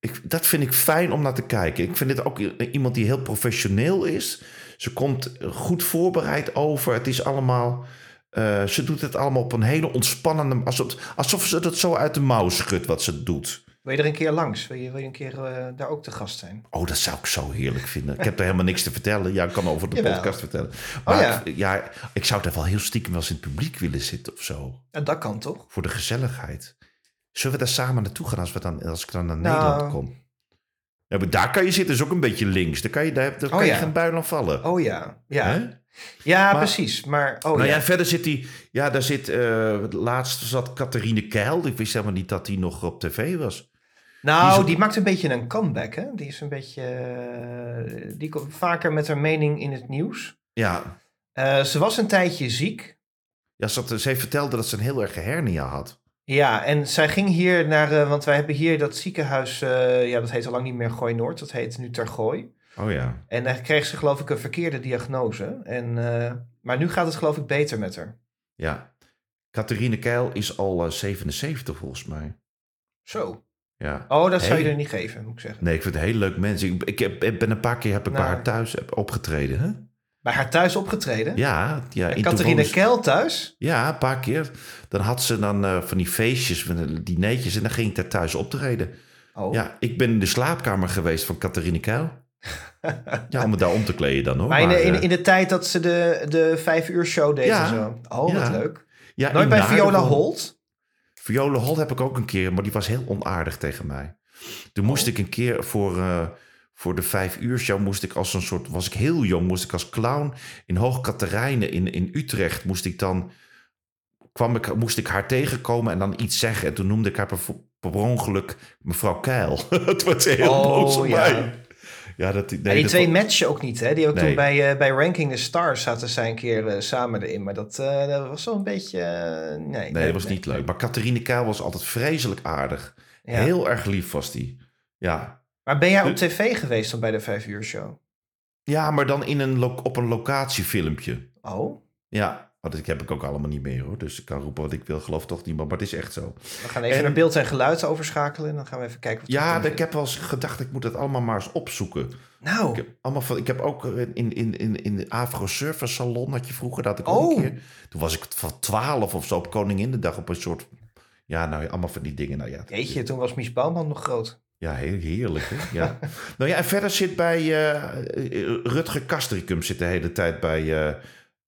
Speaker 4: ik, dat vind ik fijn om naar te kijken. Ik vind dit ook i- iemand die heel professioneel is. Ze komt goed voorbereid over. Het is allemaal. eh, ze doet het allemaal op een hele ontspannende. Alsof, alsof ze dat zo uit de mouw schudt wat ze doet.
Speaker 3: Wil je er een keer langs? Wil je, wil je een keer eh, daar ook te gast zijn?
Speaker 4: Oh, dat zou ik zo heerlijk vinden. Ik heb er helemaal niks te vertellen. Ja, ik kan over de
Speaker 3: Jawel. Oh
Speaker 4: podcast vertellen. Maar
Speaker 3: ja.
Speaker 4: ik- ja, ik zou daar wel heel stiekem wel eens in het publiek willen zitten of zo.
Speaker 3: Ja, dat kan toch?
Speaker 4: Voor de gezelligheid. Zullen we daar samen naartoe gaan als, we dan, als ik dan naar
Speaker 3: Nou.
Speaker 4: Nederland kom? Ja, maar daar kan je zitten, is ook een beetje links. Daar kan je, daar, daar
Speaker 3: Oh,
Speaker 4: kan
Speaker 3: ja.
Speaker 4: je geen buil aan vallen.
Speaker 3: Oh ja.
Speaker 4: Hè?
Speaker 3: Ja, ja
Speaker 4: Maar-
Speaker 3: precies. Maar, oh,
Speaker 4: nou
Speaker 3: ja.
Speaker 4: ja. verder zit die. Ja, daar zit. eh laatst zat Catharine Keil. Ik wist helemaal niet dat die nog op tv was.
Speaker 3: nou
Speaker 4: die
Speaker 3: die,
Speaker 4: is-
Speaker 3: maakt een beetje een comeback. Hè? Die is een beetje. eh, die komt vaker met haar mening in het nieuws.
Speaker 4: Ja,
Speaker 3: Eh, ze was een tijdje ziek.
Speaker 4: ja ze, had- ze heeft vertelde dat ze een heel erge hernia had.
Speaker 3: Ja, en zij ging hier naar. eh, want wij hebben hier dat ziekenhuis. eh, ja, dat heet al lang niet meer Gooi Noord. Dat heet nu Tergooi.
Speaker 4: Oh ja.
Speaker 3: En daar kreeg ze, geloof ik, een verkeerde diagnose. En, eh, maar nu gaat het, geloof ik, beter met haar.
Speaker 4: Ja. Catharine Keil is al eh, 77 volgens mij.
Speaker 3: Zo.
Speaker 4: Ja.
Speaker 3: Oh, dat zou je
Speaker 4: Hey.
Speaker 3: er niet geven, moet ik zeggen.
Speaker 4: Nee, ik vind het een heel leuk mens. Ik, ik, heb, ik ben een paar keer heb ik bij
Speaker 3: Nou.
Speaker 4: haar thuis heb opgetreden. Hè?
Speaker 3: Bij haar thuis opgetreden.
Speaker 4: Ja, ja.
Speaker 3: En
Speaker 4: in
Speaker 3: Catharine
Speaker 4: Toulon-
Speaker 3: Kel thuis?
Speaker 4: Ja, een paar keer. Dan had ze dan eh, van die feestjes, van die dinertjes. En dan ging ik daar thuis optreden.
Speaker 3: Oh.
Speaker 4: Ja, ik ben in de slaapkamer geweest van Catharine Keil. ja, om het daar om te kleden dan hoor.
Speaker 3: maar in, de-
Speaker 4: Maar,
Speaker 3: in,
Speaker 4: eh,
Speaker 3: in de tijd dat ze de, de vijf uur show deed
Speaker 4: Ja.
Speaker 3: en zo. Oh,
Speaker 4: Ja.
Speaker 3: wat leuk.
Speaker 4: ja,
Speaker 3: Nooit
Speaker 4: in
Speaker 3: bij
Speaker 4: Naarden
Speaker 3: Viola
Speaker 4: wel.
Speaker 3: Holt?
Speaker 4: Viola Holt heb ik ook een keer, maar die was heel onaardig tegen mij.
Speaker 3: Oh.
Speaker 4: Toen moest ik een keer voor, eh, voor de vijf uur show, moest ik als een soort, was ik heel jong, moest ik als clown in Hoog Catharijnen in, in Utrecht, moest ik dan, kwam ik, moest ik haar tegenkomen en dan iets zeggen. En toen noemde ik haar per, per ongeluk mevrouw Keil. Het was heel
Speaker 3: Oh,
Speaker 4: boos op
Speaker 3: ja.
Speaker 4: mij. Ja, dat, nee,
Speaker 3: en die
Speaker 4: dat
Speaker 3: twee
Speaker 4: was-
Speaker 3: matchen ook niet, hè? Die hebben
Speaker 4: Nee.
Speaker 3: toen bij, eh, bij Ranking the Stars zaten zij een keer eh, samen erin. Maar dat, eh, dat was zo'n beetje... eh, nee,
Speaker 4: Nee, dat was niet leuk. Maar Catharine Keil was altijd vreselijk aardig.
Speaker 3: Ja.
Speaker 4: Heel Eh. erg lief was die. Ja.
Speaker 3: Maar ben jij op tv geweest dan bij de vijf uur show?
Speaker 4: Ja, maar dan in een lo- op een locatiefilmpje.
Speaker 3: Oh,
Speaker 4: Ja. Maar dat heb ik ook allemaal niet meer hoor. Dus ik kan roepen wat ik wil, geloof toch niemand. Maar het is echt zo.
Speaker 3: we gaan even
Speaker 4: En-
Speaker 3: naar beeld en geluid overschakelen. En dan gaan we even kijken wat we
Speaker 4: Ja,
Speaker 3: ervan
Speaker 4: ik heb wel eens gedacht, ik moet dat allemaal maar eens opzoeken.
Speaker 3: vinden. Nou,
Speaker 4: Ik heb, allemaal van, ik heb ook in, in, in, in de Afro Service Salon had je vroeger, dat had ik ook
Speaker 3: Oh.
Speaker 4: een keer. Toen was ik van 12 of zo op Koninginnedag op een soort... Ja, nou ja, allemaal van die dingen. Nou ja,
Speaker 3: jeetje, toen was Mies Bouwman nog groot.
Speaker 4: Ja, heel heerlijk. Hè? Ja. nou ja, en verder zit bij eh, Rutger Kastricum zit de hele tijd bij eh,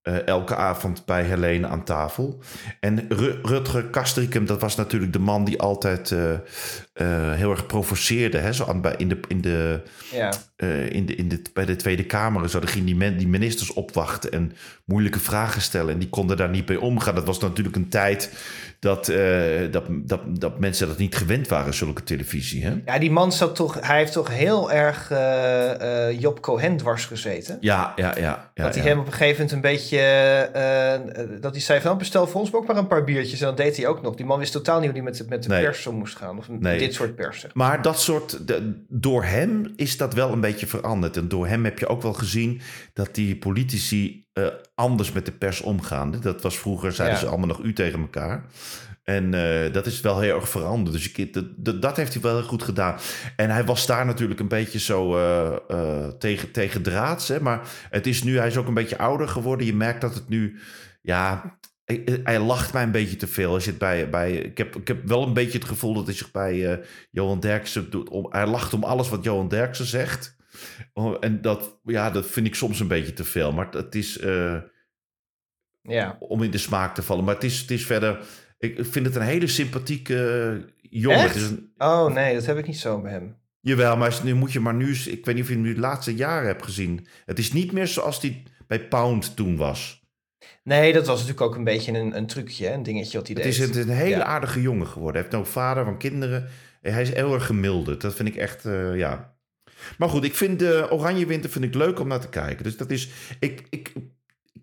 Speaker 4: eh, elke avond bij Helene aan tafel. En Ru- Rutger Kastricum, dat was natuurlijk de man die altijd eh, eh, heel erg provoceerde. Hè? Zo aan, bij, in de, in de,
Speaker 3: Ja.
Speaker 4: eh, in de, in de, bij de Tweede Kamer en zo. Daar gingen die, men- die ministers opwachten en moeilijke vragen stellen. En die konden daar niet mee omgaan. Dat was natuurlijk een tijd dat, eh, dat, dat, dat mensen dat niet gewend waren, zulke televisie. Hè?
Speaker 3: Ja, die man zat toch, hij heeft toch heel erg eh, eh, Job Cohen dwars gezeten.
Speaker 4: Ja, ja, ja. ja,
Speaker 3: dat hij
Speaker 4: ja.
Speaker 3: hem op een gegeven moment een beetje, eh, eh, dat hij zei van, nou, bestel voor ons ook maar een paar biertjes. En dat deed hij ook nog. Die man wist totaal niet hoe hij met, de- met de
Speaker 4: Nee.
Speaker 3: pers om moest gaan. Of met
Speaker 4: Nee.
Speaker 3: dit soort pers, zeg.
Speaker 4: Maar dat soort, de- door hem is dat wel een beetje veranderd. En door hem heb je ook wel gezien dat die politici eh, anders met de pers omgaan. Dat was vroeger, zeiden
Speaker 3: Ja.
Speaker 4: ze allemaal nog u tegen elkaar. En eh, dat is wel heel erg veranderd. Dus ik, dat, dat, dat heeft hij wel heel goed gedaan. En hij was daar natuurlijk een beetje zo eh, eh, tegen, tegen draads. Hè? Maar het is nu, hij is ook een beetje ouder geworden. Je merkt dat het nu, ja, hij, hij lacht mij een beetje te veel. Hij zit bij, bij, ik, heb, ik heb wel een beetje het gevoel dat hij zich bij eh, Johan Derksen doet. Om, hij lacht om alles wat Johan Derksen zegt. Oh, en dat, ja, dat vind ik soms een beetje te veel. Maar het is eh,
Speaker 3: Ja.
Speaker 4: om in de smaak te vallen. Maar het is, het is verder, ik vind het een hele sympathieke eh, jongen.
Speaker 3: Echt?
Speaker 4: Het is een,
Speaker 3: Oh nee, dat heb ik niet zo bij hem.
Speaker 4: jawel, maar nu moet je maar nu, eens- ik weet niet of je hem nu de laatste jaren hebt gezien. Het is niet meer zoals die bij Pound toen was.
Speaker 3: Nee, dat was natuurlijk ook een beetje een, een trucje, hè, een dingetje wat hij
Speaker 4: Het
Speaker 3: deed.
Speaker 4: is een, een hele
Speaker 3: Ja.
Speaker 4: aardige jongen geworden. Hij heeft nou vader van kinderen. En Hij is heel erg gemilderd. Dat vind ik echt, eh, ja. Maar goed, ik vind de Oranje Winter vind ik leuk om naar te kijken. Dus dat is, ik, ik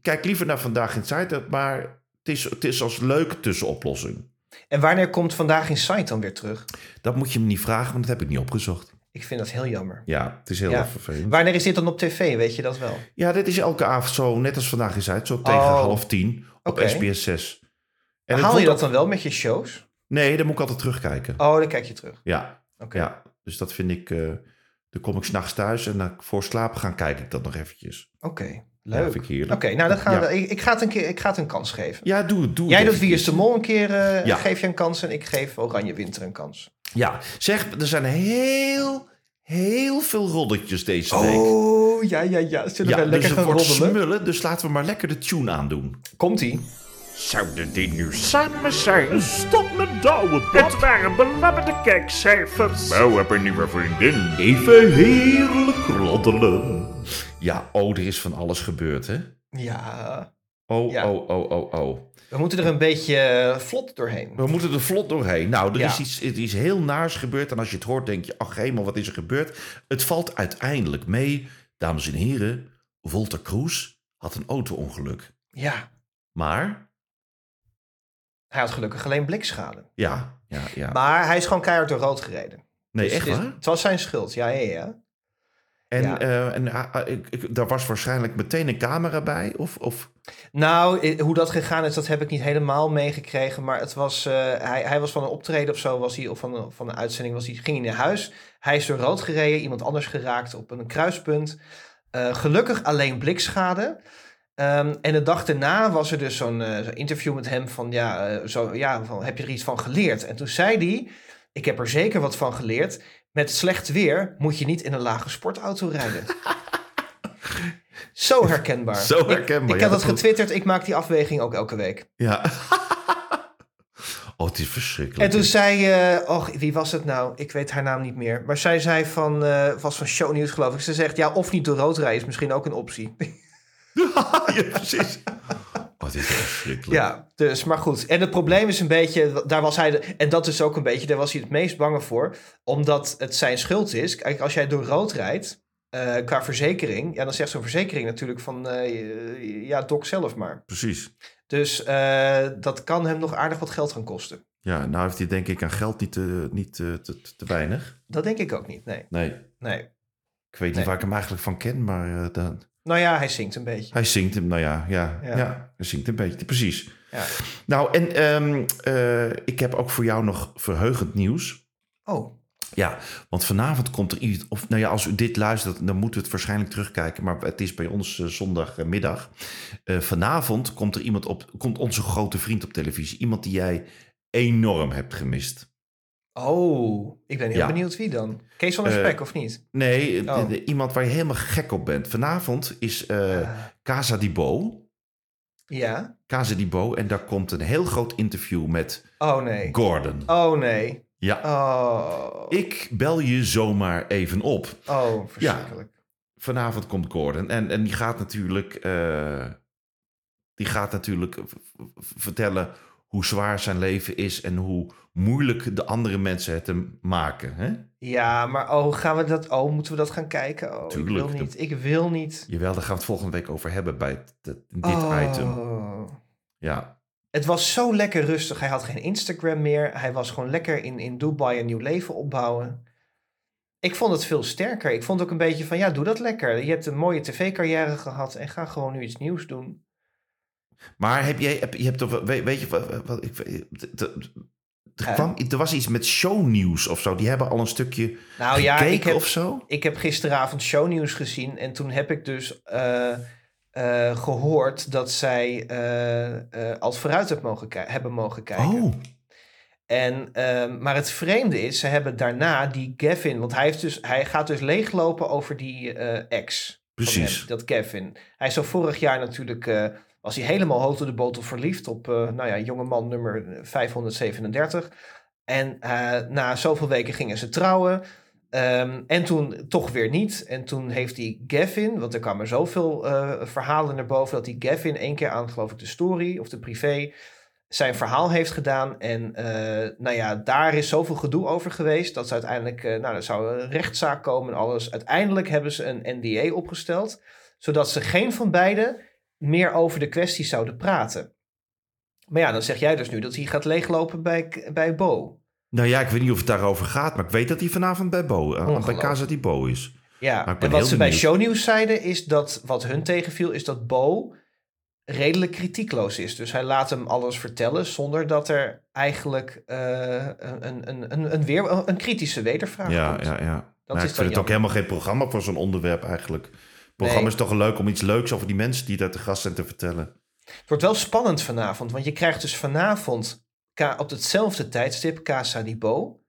Speaker 4: kijk liever naar Vandaag in Zuid, maar het is, het is als leuke tussenoplossing.
Speaker 3: En wanneer komt Vandaag in Sight dan weer terug?
Speaker 4: Dat moet je me niet vragen, want dat heb ik niet opgezocht.
Speaker 3: Ik vind dat heel jammer.
Speaker 4: Ja, het is heel
Speaker 3: Ja.
Speaker 4: erg vervelend.
Speaker 3: Wanneer is dit dan op tv? Weet je dat wel?
Speaker 4: Ja, dit is elke avond zo, net als vandaag is uit, zo tegen
Speaker 3: Oh.
Speaker 4: half tien op
Speaker 3: Oké.
Speaker 4: SBS 6. En het
Speaker 3: Haal
Speaker 4: wordt
Speaker 3: je dat
Speaker 4: ook-
Speaker 3: dan wel met je shows?
Speaker 4: Nee, dan moet ik altijd terugkijken.
Speaker 3: Oh, dan kijk je terug.
Speaker 4: Ja,
Speaker 3: Oké.
Speaker 4: ja, dus dat vind ik... eh, dan kom ik s'nachts thuis en dan voor slapen gaan kijk ik dat nog eventjes.
Speaker 3: Oké,
Speaker 4: Ja,
Speaker 3: leuk.
Speaker 4: vind ik heerlijk.
Speaker 3: Oké, nou dan gaan
Speaker 4: Ja.
Speaker 3: we. Ik, ik, ga het een keer, ik ga het een kans geven.
Speaker 4: Ja, doe het. Doe
Speaker 3: Jij
Speaker 4: het
Speaker 3: doet
Speaker 4: even.
Speaker 3: Wie is de Mol een keer, eh,
Speaker 4: Ja.
Speaker 3: geef je een kans en ik geef Oranje Winter een kans.
Speaker 4: Ja, zeg, er zijn heel, heel veel roddeltjes deze week.
Speaker 3: Oh, ja, ja, ja. Zullen
Speaker 4: ja,
Speaker 3: we lekker
Speaker 4: dus het
Speaker 3: gaan
Speaker 4: wordt
Speaker 3: roddelen?
Speaker 4: smullen, dus laten we maar lekker de tune aandoen.
Speaker 3: Komt-ie.
Speaker 5: Zouden die nu samen zijn? Stop met douwen, Bob. Het waren belabberde kijkcijfers. Nou, heb een nieuwe vriendin.
Speaker 4: Even heerlijk roddelen. Ja, oh, er is van alles gebeurd, hè?
Speaker 3: Ja.
Speaker 4: Oh,
Speaker 3: Ja.
Speaker 4: oh, oh, oh, oh.
Speaker 3: We moeten er een beetje eh, vlot doorheen.
Speaker 4: We moeten er vlot doorheen. Nou, er
Speaker 3: Ja.
Speaker 4: is iets, het is heel naars gebeurd. En als je het hoort, denk je, ach hemel, wat is er gebeurd? Het valt uiteindelijk mee. Dames en heren, Walter Kroes had een auto-ongeluk.
Speaker 3: Ja.
Speaker 4: Maar,
Speaker 3: Hij had gelukkig alleen blikschade.
Speaker 4: ja, ja, ja.
Speaker 3: Maar hij is gewoon keihard door rood gereden.
Speaker 4: nee,
Speaker 3: Dus
Speaker 4: echt
Speaker 3: het, is-
Speaker 4: waar?
Speaker 3: het was zijn schuld. Ja, ja, ja.
Speaker 4: En,
Speaker 3: ja.
Speaker 4: eh, en ah, ah, ik, ik- daar was waarschijnlijk meteen een camera bij? Of, of
Speaker 3: Nou, eh, hoe dat gegaan is, dat heb ik niet helemaal meegekregen. Maar het was, eh, hij, hij was van een optreden of zo, was hij, of van een, van een uitzending, was hij, ging hij naar huis. Hij is door rood gereden, iemand anders geraakt op een kruispunt. Eh, gelukkig alleen blikschade. Ehm, en de dag daarna was er dus zo'n eh, zo'n interview met hem van, ja, eh, zo, ja van, heb je er iets van geleerd? En toen zei hij, ik heb er zeker wat van geleerd. Met slecht weer moet je niet in een lage sportauto rijden. Zo herkenbaar.
Speaker 4: Zo herkenbaar,
Speaker 3: Ik,
Speaker 4: ja,
Speaker 3: ik had dat
Speaker 4: dat klopt.
Speaker 3: getwitterd. Ik maak die afweging ook elke week.
Speaker 4: Ja. oh, het is
Speaker 3: En
Speaker 4: verschrikkelijk.
Speaker 3: toen zei, eh och, wie was het nou? Ik weet haar naam niet meer. Maar zij zei van, eh, was van shownieuws geloof ik. Ze zegt, ja, of niet door rood rijden is misschien ook een optie.
Speaker 4: ja, precies. Oh, het is verschrikkelijk.
Speaker 3: Ja, dus, maar goed. En het probleem is een beetje, daar was hij, de- en dat is ook een beetje, daar was hij het meest bang voor. Omdat het zijn schuld is. Kijk, als jij door rood rijdt, eh, qua verzekering, ja, dan zegt zo'n verzekering natuurlijk van, eh, ja, dok zelf maar.
Speaker 4: Precies.
Speaker 3: Dus eh, dat kan hem nog aardig wat geld gaan kosten.
Speaker 4: Ja, nou heeft hij denk ik aan geld niet te, niet te, te, te weinig.
Speaker 3: Dat denk ik ook niet, nee.
Speaker 4: Nee,
Speaker 3: nee.
Speaker 4: ik weet
Speaker 3: Nee.
Speaker 4: niet waar ik hem eigenlijk van ken, maar eh, dan,
Speaker 3: Nou ja, hij zingt een beetje.
Speaker 4: hij zingt hem. Nou ja, ja,
Speaker 3: Ja.
Speaker 4: ja. hij zingt een beetje. Precies.
Speaker 3: Ja.
Speaker 4: Nou, en ehm, eh, ik heb ook voor jou nog verheugend nieuws.
Speaker 3: Oh,
Speaker 4: Ja, want vanavond komt er iets. Of nou ja, als u dit luistert, dan moeten we het waarschijnlijk terugkijken. Maar het is bij ons eh, zondagmiddag. Eh, vanavond komt er iemand op. Komt onze grote vriend op televisie. Iemand die jij enorm hebt gemist.
Speaker 3: oh, ik ben heel
Speaker 4: Ja.
Speaker 3: benieuwd wie dan. Kees van der
Speaker 4: Eh,
Speaker 3: Spek of niet?
Speaker 4: Nee, eh,
Speaker 3: Oh.
Speaker 4: de- de- iemand waar je helemaal gek op bent. Vanavond is eh
Speaker 3: Ah,
Speaker 4: Casa di Bo.
Speaker 3: ja.
Speaker 4: Casa di Bo. En daar komt een heel groot interview met
Speaker 3: Oh nee.
Speaker 4: Gordon.
Speaker 3: Oh nee.
Speaker 4: Ja,
Speaker 3: Oh.
Speaker 4: ik bel je zomaar even op.
Speaker 3: Oh, verschrikkelijk.
Speaker 4: vanavond komt Gordon. En, en die gaat natuurlijk. eh, die gaat natuurlijk v- v- vertellen hoe zwaar zijn leven is en hoe moeilijk de andere mensen het hem maken. Hè?
Speaker 3: Ja. maar oh, gaan we dat? Oh, moeten we dat gaan kijken? Oh, ik
Speaker 4: Tuurlijk.
Speaker 3: wil niet. Ik wil niet.
Speaker 4: Jawel, daar gaan we het volgende week over hebben bij het- het- dit
Speaker 3: Oh.
Speaker 4: item. Ja.
Speaker 3: Het was zo lekker rustig. Hij had geen Instagram meer. Hij was gewoon lekker in, in Dubai een nieuw leven opbouwen. Ik vond het veel sterker. Ik vond ook een beetje van, ja, doe dat lekker. Je hebt een mooie tv-carrière gehad en ga gewoon nu iets nieuws doen.
Speaker 4: Maar heb jij, heb, je hebt toch, weet, weet je wat, wat ik, weet- er- er,
Speaker 3: Eh?
Speaker 4: kwam, er was iets met shownieuws of zo. Die hebben al een stukje
Speaker 3: Nou ja,
Speaker 4: gekeken
Speaker 3: ik heb,
Speaker 4: of zo.
Speaker 3: ik heb gisteravond shownieuws gezien en toen heb ik dus eh, eh, gehoord dat zij eh, eh, als vooruit heb mogen ki- hebben mogen kijken.
Speaker 4: Oh,
Speaker 3: En, ehm, maar het vreemde is, ze hebben daarna die Gavin, want hij, heeft dus, hij gaat dus leeglopen over die eh, ex. van
Speaker 4: Precies.
Speaker 3: hem, dat Gavin. Hij is al vorig jaar natuurlijk, eh, was hij helemaal hoog door de botel verliefd op, eh nou ja, jongeman nummer 537. En eh, na zoveel weken gingen ze trouwen. Ehm, en toen toch weer niet. En toen heeft die Gavin, want er kwamen zoveel eh, verhalen naar boven, dat die Gavin één keer aan, geloof ik, de story of de privé zijn verhaal heeft gedaan. En eh, nou ja, daar is zoveel gedoe over geweest. Dat ze uiteindelijk, eh, nou, er zou een rechtszaak komen en alles. Uiteindelijk hebben ze een NDA opgesteld. Zodat ze geen van beiden meer over de kwestie zouden praten. Maar ja, dan zeg jij dus nu dat hij gaat leeglopen bij, bij Bo.
Speaker 4: Nou ja, ik weet niet of het daarover gaat, maar ik weet dat hij vanavond bij, Bo, eh, bij
Speaker 3: Ongelooflijk.
Speaker 4: Casa di Bo is.
Speaker 3: Ja,
Speaker 4: Maar ik
Speaker 3: en
Speaker 4: ben
Speaker 3: wat
Speaker 4: heel
Speaker 3: ze bij
Speaker 4: benieuwd.
Speaker 3: shownieuws zeiden is dat wat hun tegenviel is dat Bo redelijk kritiekloos is. Dus hij laat hem alles vertellen zonder dat er eigenlijk eh, een, een, een, een, weer, een kritische wedervraag
Speaker 4: ja,
Speaker 3: komt.
Speaker 4: ja, ja.
Speaker 3: Dat
Speaker 4: Nou,
Speaker 3: is
Speaker 4: ik
Speaker 3: dan
Speaker 4: vind het ook
Speaker 3: jammer.
Speaker 4: helemaal geen programma voor zo'n onderwerp eigenlijk. Het programma is toch leuk om iets leuks over die mensen die daar te gast zijn te vertellen.
Speaker 3: Het wordt wel spannend vanavond, want je krijgt dus vanavond ka- op hetzelfde tijdstip Casa di Bo.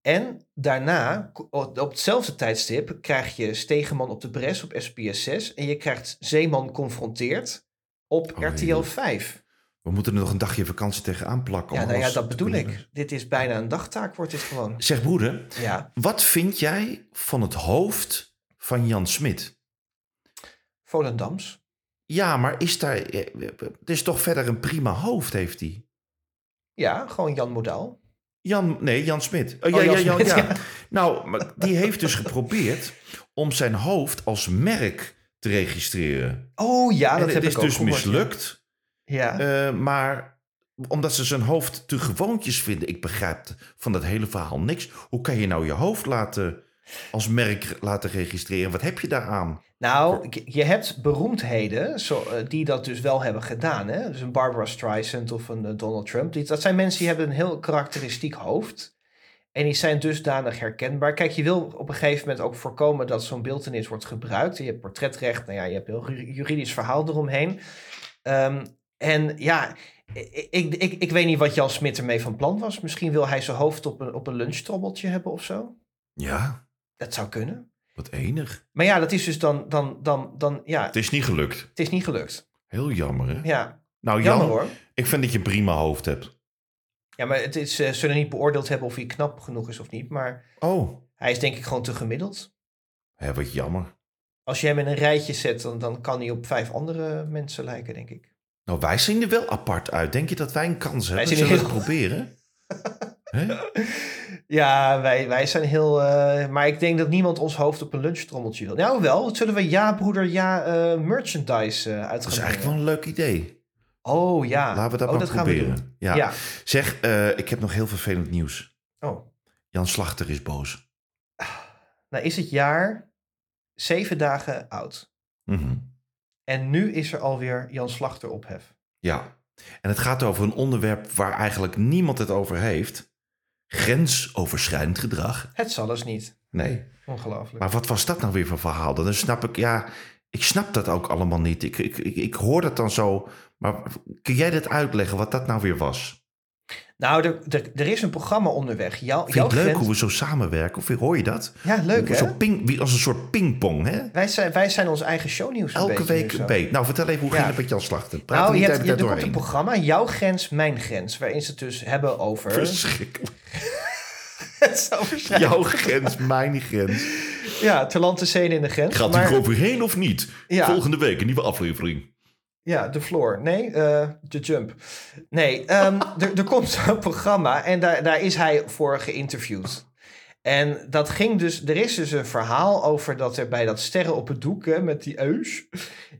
Speaker 3: En daarna, ko- op hetzelfde tijdstip, krijg je Stegeman op de Bres op SBS 6. En je krijgt Zeeman confronteerd op
Speaker 4: Oh,
Speaker 3: RTL
Speaker 4: heerlijk.
Speaker 3: 5.
Speaker 4: We moeten er nog een dagje vakantie tegenaan plakken. om
Speaker 3: Ja, nou ja,
Speaker 4: alles
Speaker 3: dat
Speaker 4: te
Speaker 3: bedoel
Speaker 4: kunnen.
Speaker 3: ik. Dit is bijna een dagtaak, wordt dit gewoon.
Speaker 4: Zeg broeder,
Speaker 3: Ja,
Speaker 4: wat vind jij van het hoofd van Jan Smit?
Speaker 3: Volendams.
Speaker 4: Ja, maar is daar. eh, Het is toch verder een prima hoofd, heeft hij?
Speaker 3: Ja, gewoon Jan Modaal.
Speaker 4: Jan, nee, Jan Smit. Oh,
Speaker 3: Oh,
Speaker 4: ja,
Speaker 3: Jan
Speaker 4: ja, Jan,
Speaker 3: Smit,
Speaker 4: ja.
Speaker 3: ja.
Speaker 4: Nou, maar die heeft dus geprobeerd om zijn hoofd als merk te registreren.
Speaker 3: Oh ja,
Speaker 4: En
Speaker 3: dat
Speaker 4: het
Speaker 3: heb
Speaker 4: is
Speaker 3: ik ook
Speaker 4: dus
Speaker 3: gehoord, ja.
Speaker 4: mislukt,
Speaker 3: Ja.
Speaker 4: eh, maar omdat ze zijn hoofd te gewoontjes vinden. Ik begrijp van dat hele verhaal niks. Hoe kan je nou je hoofd laten als merk laten registreren? Wat heb je daaraan?
Speaker 3: Nou, je- je hebt beroemdheden zo, eh, die dat dus wel hebben gedaan. Hè? Dus een Barbara Streisand of een eh, Donald Trump. Die, dat zijn mensen die hebben een heel karakteristiek hoofd. En die zijn dusdanig herkenbaar. Kijk, je wil op een gegeven moment ook voorkomen dat zo'n beeldenis wordt gebruikt. Je hebt portretrecht, nou ja, je hebt heel ju- juridisch verhaal eromheen. Ehm, en ja, ik, ik, ik, ik weet niet wat Jan Smit ermee van plan was. Misschien wil hij zijn hoofd op een, op een lunchtrommeltje hebben of zo.
Speaker 4: Ja,
Speaker 3: Dat zou kunnen.
Speaker 4: wat enig.
Speaker 3: Maar ja, dat is dus dan, dan, dan, dan ja,
Speaker 4: Het is niet gelukt.
Speaker 3: het is niet gelukt.
Speaker 4: Heel jammer, hè?
Speaker 3: Ja,
Speaker 4: Nou, Jan,
Speaker 3: jammer hoor.
Speaker 4: ik vind dat je een prima hoofd hebt.
Speaker 3: Ja, maar het is, eh, zullen niet beoordeeld hebben of hij knap genoeg is of niet. Maar
Speaker 4: Oh,
Speaker 3: hij is denk ik gewoon te gemiddeld.
Speaker 4: hè, wat jammer.
Speaker 3: Als je hem in een rijtje zet, dan, dan kan hij op vijf andere mensen lijken, denk ik.
Speaker 4: Nou, wij zien er wel apart uit. Denk je dat wij een kans hebben?
Speaker 3: zien er
Speaker 4: Zullen we het
Speaker 3: heel-
Speaker 4: proberen? Hè?
Speaker 3: Ja, wij, wij zijn heel... eh, maar ik denk dat niemand ons hoofd op een lunchtrommeltje wil. Nou wel, wat zullen we ja broeder, ja eh, merchandise eh uit
Speaker 4: Dat is eigenlijk
Speaker 3: gaan
Speaker 4: wel
Speaker 3: brengen?
Speaker 4: een leuk idee.
Speaker 3: Oh ja.
Speaker 4: Laten we dat
Speaker 3: oh,
Speaker 4: maar
Speaker 3: dat Gaan we doen.
Speaker 4: proberen. Ja.
Speaker 3: Ja.
Speaker 4: Zeg, eh, ik heb nog heel vervelend nieuws.
Speaker 3: Oh,
Speaker 4: Jan Slachter is boos.
Speaker 3: nou is het jaar zeven dagen oud.
Speaker 4: Mhm.
Speaker 3: En nu is er alweer Jan Slachter ophef.
Speaker 4: Ja. En het gaat over een onderwerp waar eigenlijk niemand het over heeft. Grensoverschrijdend gedrag.
Speaker 3: Het zal eens niet.
Speaker 4: Nee.
Speaker 3: Ongelooflijk.
Speaker 4: Maar wat was dat nou weer voor verhaal? Dan snap ik, ja, ik snap dat ook allemaal niet. Ik, ik, ik, ik hoor dat dan zo. Maar kun jij dat uitleggen wat dat nou weer was?
Speaker 3: Nou, er, er, er is een programma onderweg. Jou,
Speaker 4: Vind je
Speaker 3: jouw
Speaker 4: het leuk
Speaker 3: grens-
Speaker 4: hoe we zo samenwerken? Of hoor je dat?
Speaker 3: Ja, leuk hè?
Speaker 4: Zo ping, wie- als een soort pingpong, hè?
Speaker 3: Wij zijn, wij zijn ons eigen shownieuws een
Speaker 4: Elke
Speaker 3: beetje
Speaker 4: week
Speaker 3: nu
Speaker 4: een
Speaker 3: zo.
Speaker 4: beet. Nou, vertel even hoe
Speaker 3: Ja.
Speaker 4: ging het met Jan Slachter? Praat
Speaker 3: Nou,
Speaker 4: er
Speaker 3: je
Speaker 4: niet
Speaker 3: hebt,
Speaker 4: even
Speaker 3: je, er komt een
Speaker 4: doorheen.
Speaker 3: programma, Jouw Grens, Mijn Grens. Waarin ze het dus hebben over...
Speaker 4: Verschrikkelijk.
Speaker 3: het zou waarschijnlijk-
Speaker 4: Jouw grens, mijn grens.
Speaker 3: Ja, ter land, te zee en in de grens.
Speaker 4: Gaat
Speaker 3: maar,
Speaker 4: hij overheen of niet?
Speaker 3: Ja.
Speaker 4: Volgende week een nieuwe aflevering.
Speaker 3: Ja, de floor. Nee, eh, de jump. Nee, ehm, er, er komt zo'n programma en daar, daar is hij voor geïnterviewd. En dat ging dus, er is dus een verhaal over dat er bij dat sterren op het doek, hè, met die eus,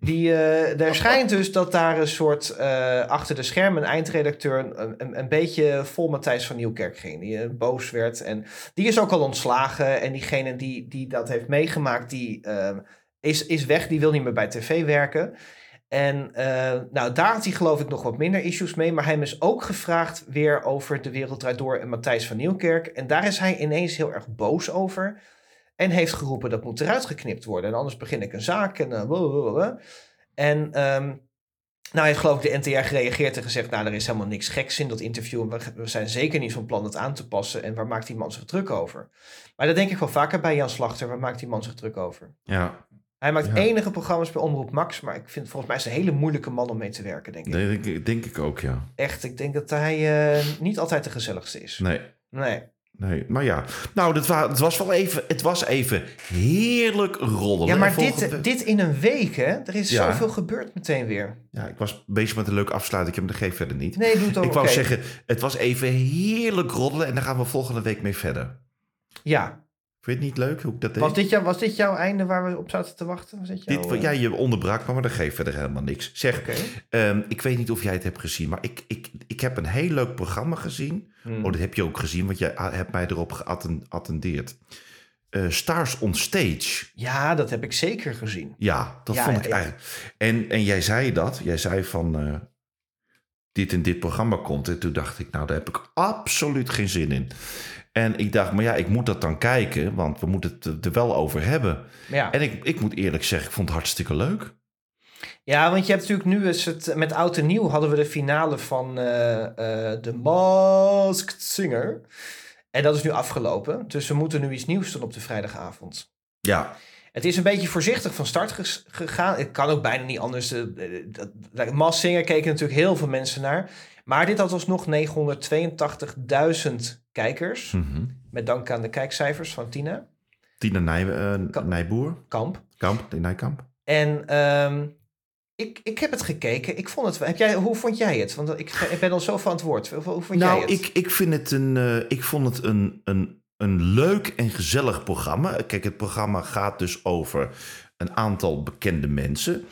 Speaker 3: die, eh, daar schijnt dus dat daar een soort, eh, achter de schermen, een eindredacteur een, een, een beetje vol Matthijs van Nieuwkerk ging, die eh, boos werd. En die is ook al ontslagen en diegene die, die dat heeft meegemaakt, die eh, is, is weg, die wil niet meer bij tv werken. En eh, nou, daar had hij geloof ik nog wat minder issues mee. Maar hem is ook gevraagd weer over De Wereld Draait Door en Matthijs van Nieuwkerk. En daar is hij ineens heel erg boos over. En heeft geroepen dat moet eruit geknipt worden. En anders begin ik een zaak. En, eh, blablabla. en ehm, nou heeft geloof ik de NTR gereageerd en gezegd... nou, er is helemaal niks geks in dat interview. We, we zijn zeker niet van plan het aan te passen. En waar maakt die man zich druk over? Maar dat denk ik wel vaker bij Jan Slachter. Waar maakt die man zich druk over?
Speaker 4: Ja,
Speaker 3: Hij maakt
Speaker 4: Ja.
Speaker 3: enige programma's bij Omroep Max, maar ik vind volgens mij is hij een hele moeilijke man om mee te werken, denk ik.
Speaker 4: denk, ik ook, ja.
Speaker 3: Echt, ik denk dat hij eh, niet altijd de gezelligste is.
Speaker 4: Nee.
Speaker 3: Nee.
Speaker 4: Nee, maar ja. Nou, dat wa- het was wel even, het was even heerlijk rollen.
Speaker 3: Ja, maar
Speaker 4: En volgende-
Speaker 3: dit, dit in een week, hè? Er is
Speaker 4: Ja.
Speaker 3: zoveel gebeurd meteen weer.
Speaker 4: Ja, ik was bezig met een leuke afsluiting. Ik heb hem er geen verder niet.
Speaker 3: Nee, doe het ook.
Speaker 4: ik wou
Speaker 3: Oh, oké.
Speaker 4: zeggen, het was even heerlijk roddelen en daar gaan we volgende week mee verder.
Speaker 3: Ja,
Speaker 4: Vind je het niet leuk hoe ik dat deed?
Speaker 3: Was dit, jou, was dit jouw einde waar we op zaten te wachten? Was dit jouw,
Speaker 4: Dit,
Speaker 3: eh,
Speaker 4: ja, je onderbrak me, maar dat geeft verder helemaal niks. Zeg,
Speaker 3: Oké.
Speaker 4: ehm, ik weet niet of jij het hebt gezien, maar ik, ik, ik heb een heel leuk programma gezien.
Speaker 3: Mm. Hmm.
Speaker 4: Oh, dat heb je ook gezien, want jij a- hebt mij erop geattendeerd. Eh, Stars on Stage.
Speaker 3: Ja, dat heb ik zeker gezien.
Speaker 4: Ja, dat
Speaker 3: Ja,
Speaker 4: vond
Speaker 3: ja,
Speaker 4: ik
Speaker 3: ja.
Speaker 4: eigenlijk. En, en jij zei dat. Jij zei van eh, dit en dit programma komt. En toen dacht ik, nou, daar heb ik absoluut geen zin in. En ik dacht, maar ja, ik moet dat dan kijken, want we moeten het er wel over hebben.
Speaker 3: Maar ja.
Speaker 4: En ik, ik moet eerlijk zeggen, ik vond het hartstikke leuk.
Speaker 3: ja, want je hebt natuurlijk nu is het met oud en nieuw hadden we de finale van eh, eh, The Masked Singer. En dat is nu afgelopen. Dus we moeten nu iets nieuws doen op de vrijdagavond.
Speaker 4: Ja,
Speaker 3: Het is een beetje voorzichtig van start ges- gegaan. Het kan ook bijna niet anders. Eh, eh, dat- dat- Mass Singer keken natuurlijk heel veel mensen naar. Maar dit had alsnog 982.000 kijkers. Met dank aan de kijkcijfers van Tina
Speaker 4: Mhm. Tina Nij, eh,
Speaker 3: Kamp.
Speaker 4: Nijboer.
Speaker 3: Kamp.
Speaker 4: Kamp, de Nijkamp.
Speaker 3: En ehm, ik, ik heb het gekeken. Ik vond het, wel- heb jij, hoe vond jij het? Want ik, ik ben al zo van het woord. Hoe, hoe vond
Speaker 4: Nou,
Speaker 3: jij het?
Speaker 4: ik, ik, vind het een, eh, ik vond het een, een, een leuk en gezellig programma. Kijk, het programma gaat dus over een aantal bekende mensen.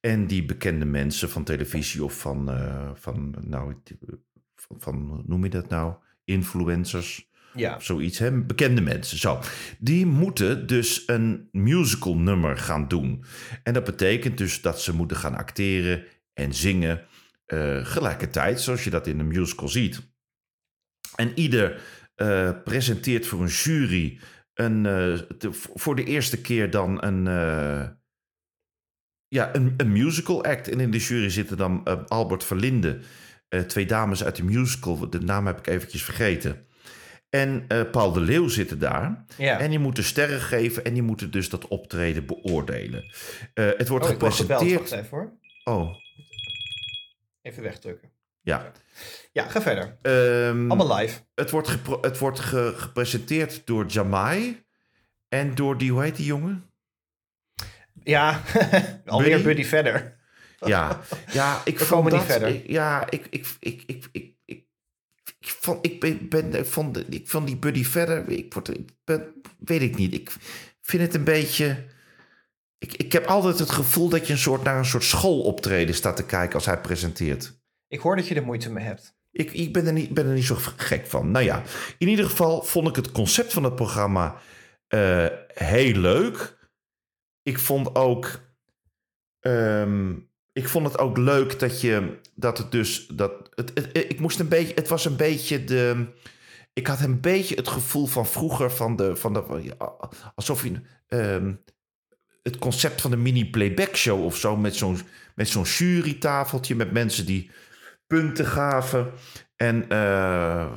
Speaker 4: En die bekende mensen van televisie of van, eh, van nou, het- van, van, hoe noem je dat nou? Influencers.
Speaker 3: ja.
Speaker 4: of zoiets, hè? bekende mensen. Zo. Die moeten dus een musical nummer gaan doen. En dat betekent dus dat ze moeten gaan acteren en zingen eh gelijkertijd, zoals je dat in een musical ziet. En ieder eh, presenteert voor een jury een, eh, de- voor de eerste keer dan een, eh, ja, een, een musical act. En in de jury zitten dan eh, Albert Verlinde, eh, twee dames uit de musical, de naam heb ik eventjes vergeten. En eh, Paul de Leeuw zitten daar.
Speaker 3: ja.
Speaker 4: En die moeten sterren geven en die moeten dus dat optreden beoordelen. Eh, het wordt
Speaker 3: Oh, ik word gebeld. Wacht
Speaker 4: gepresenteerd.
Speaker 3: even hoor.
Speaker 4: Oh,
Speaker 3: Even wegdrukken.
Speaker 4: ja.
Speaker 3: Ja, ga verder.
Speaker 4: Ehm,
Speaker 3: Allemaal live.
Speaker 4: het wordt, gepro- het wordt ge- gepresenteerd door Jamai. En door die, hoe heet die jongen?
Speaker 3: Ja, alweer
Speaker 4: Buddy?
Speaker 3: Buddy verder.
Speaker 4: Ja, ja ik
Speaker 3: We
Speaker 4: vond
Speaker 3: komen niet
Speaker 4: dat,
Speaker 3: verder.
Speaker 4: ik- ja, ik, ik, ik, ik, ik, ik, ik vond, ik ben, ben ik vond, ik vond die buddy verder, ik word, ik ben, weet ik niet. Ik vind het een beetje, ik, ik heb altijd het gevoel dat je een soort, naar een soort schooloptreden staat te kijken als hij presenteert.
Speaker 3: Ik hoor dat je er moeite mee hebt.
Speaker 4: Ik, ik ben, er niet, ben er niet zo gek van. Nou ja, in ieder geval vond ik het concept van het programma eh, heel leuk. Ik vond ook. ehm, ik vond het ook leuk dat je. Dat het dus. Dat, het, het- ik moest een beetje. Het was een beetje de. Ik had een beetje het gevoel van vroeger. Van de, van de, alsof je. ehm, het concept van een mini-playback show of zo. Met zo'n, met zo'n jurytafeltje. Met mensen die punten gaven. En eh,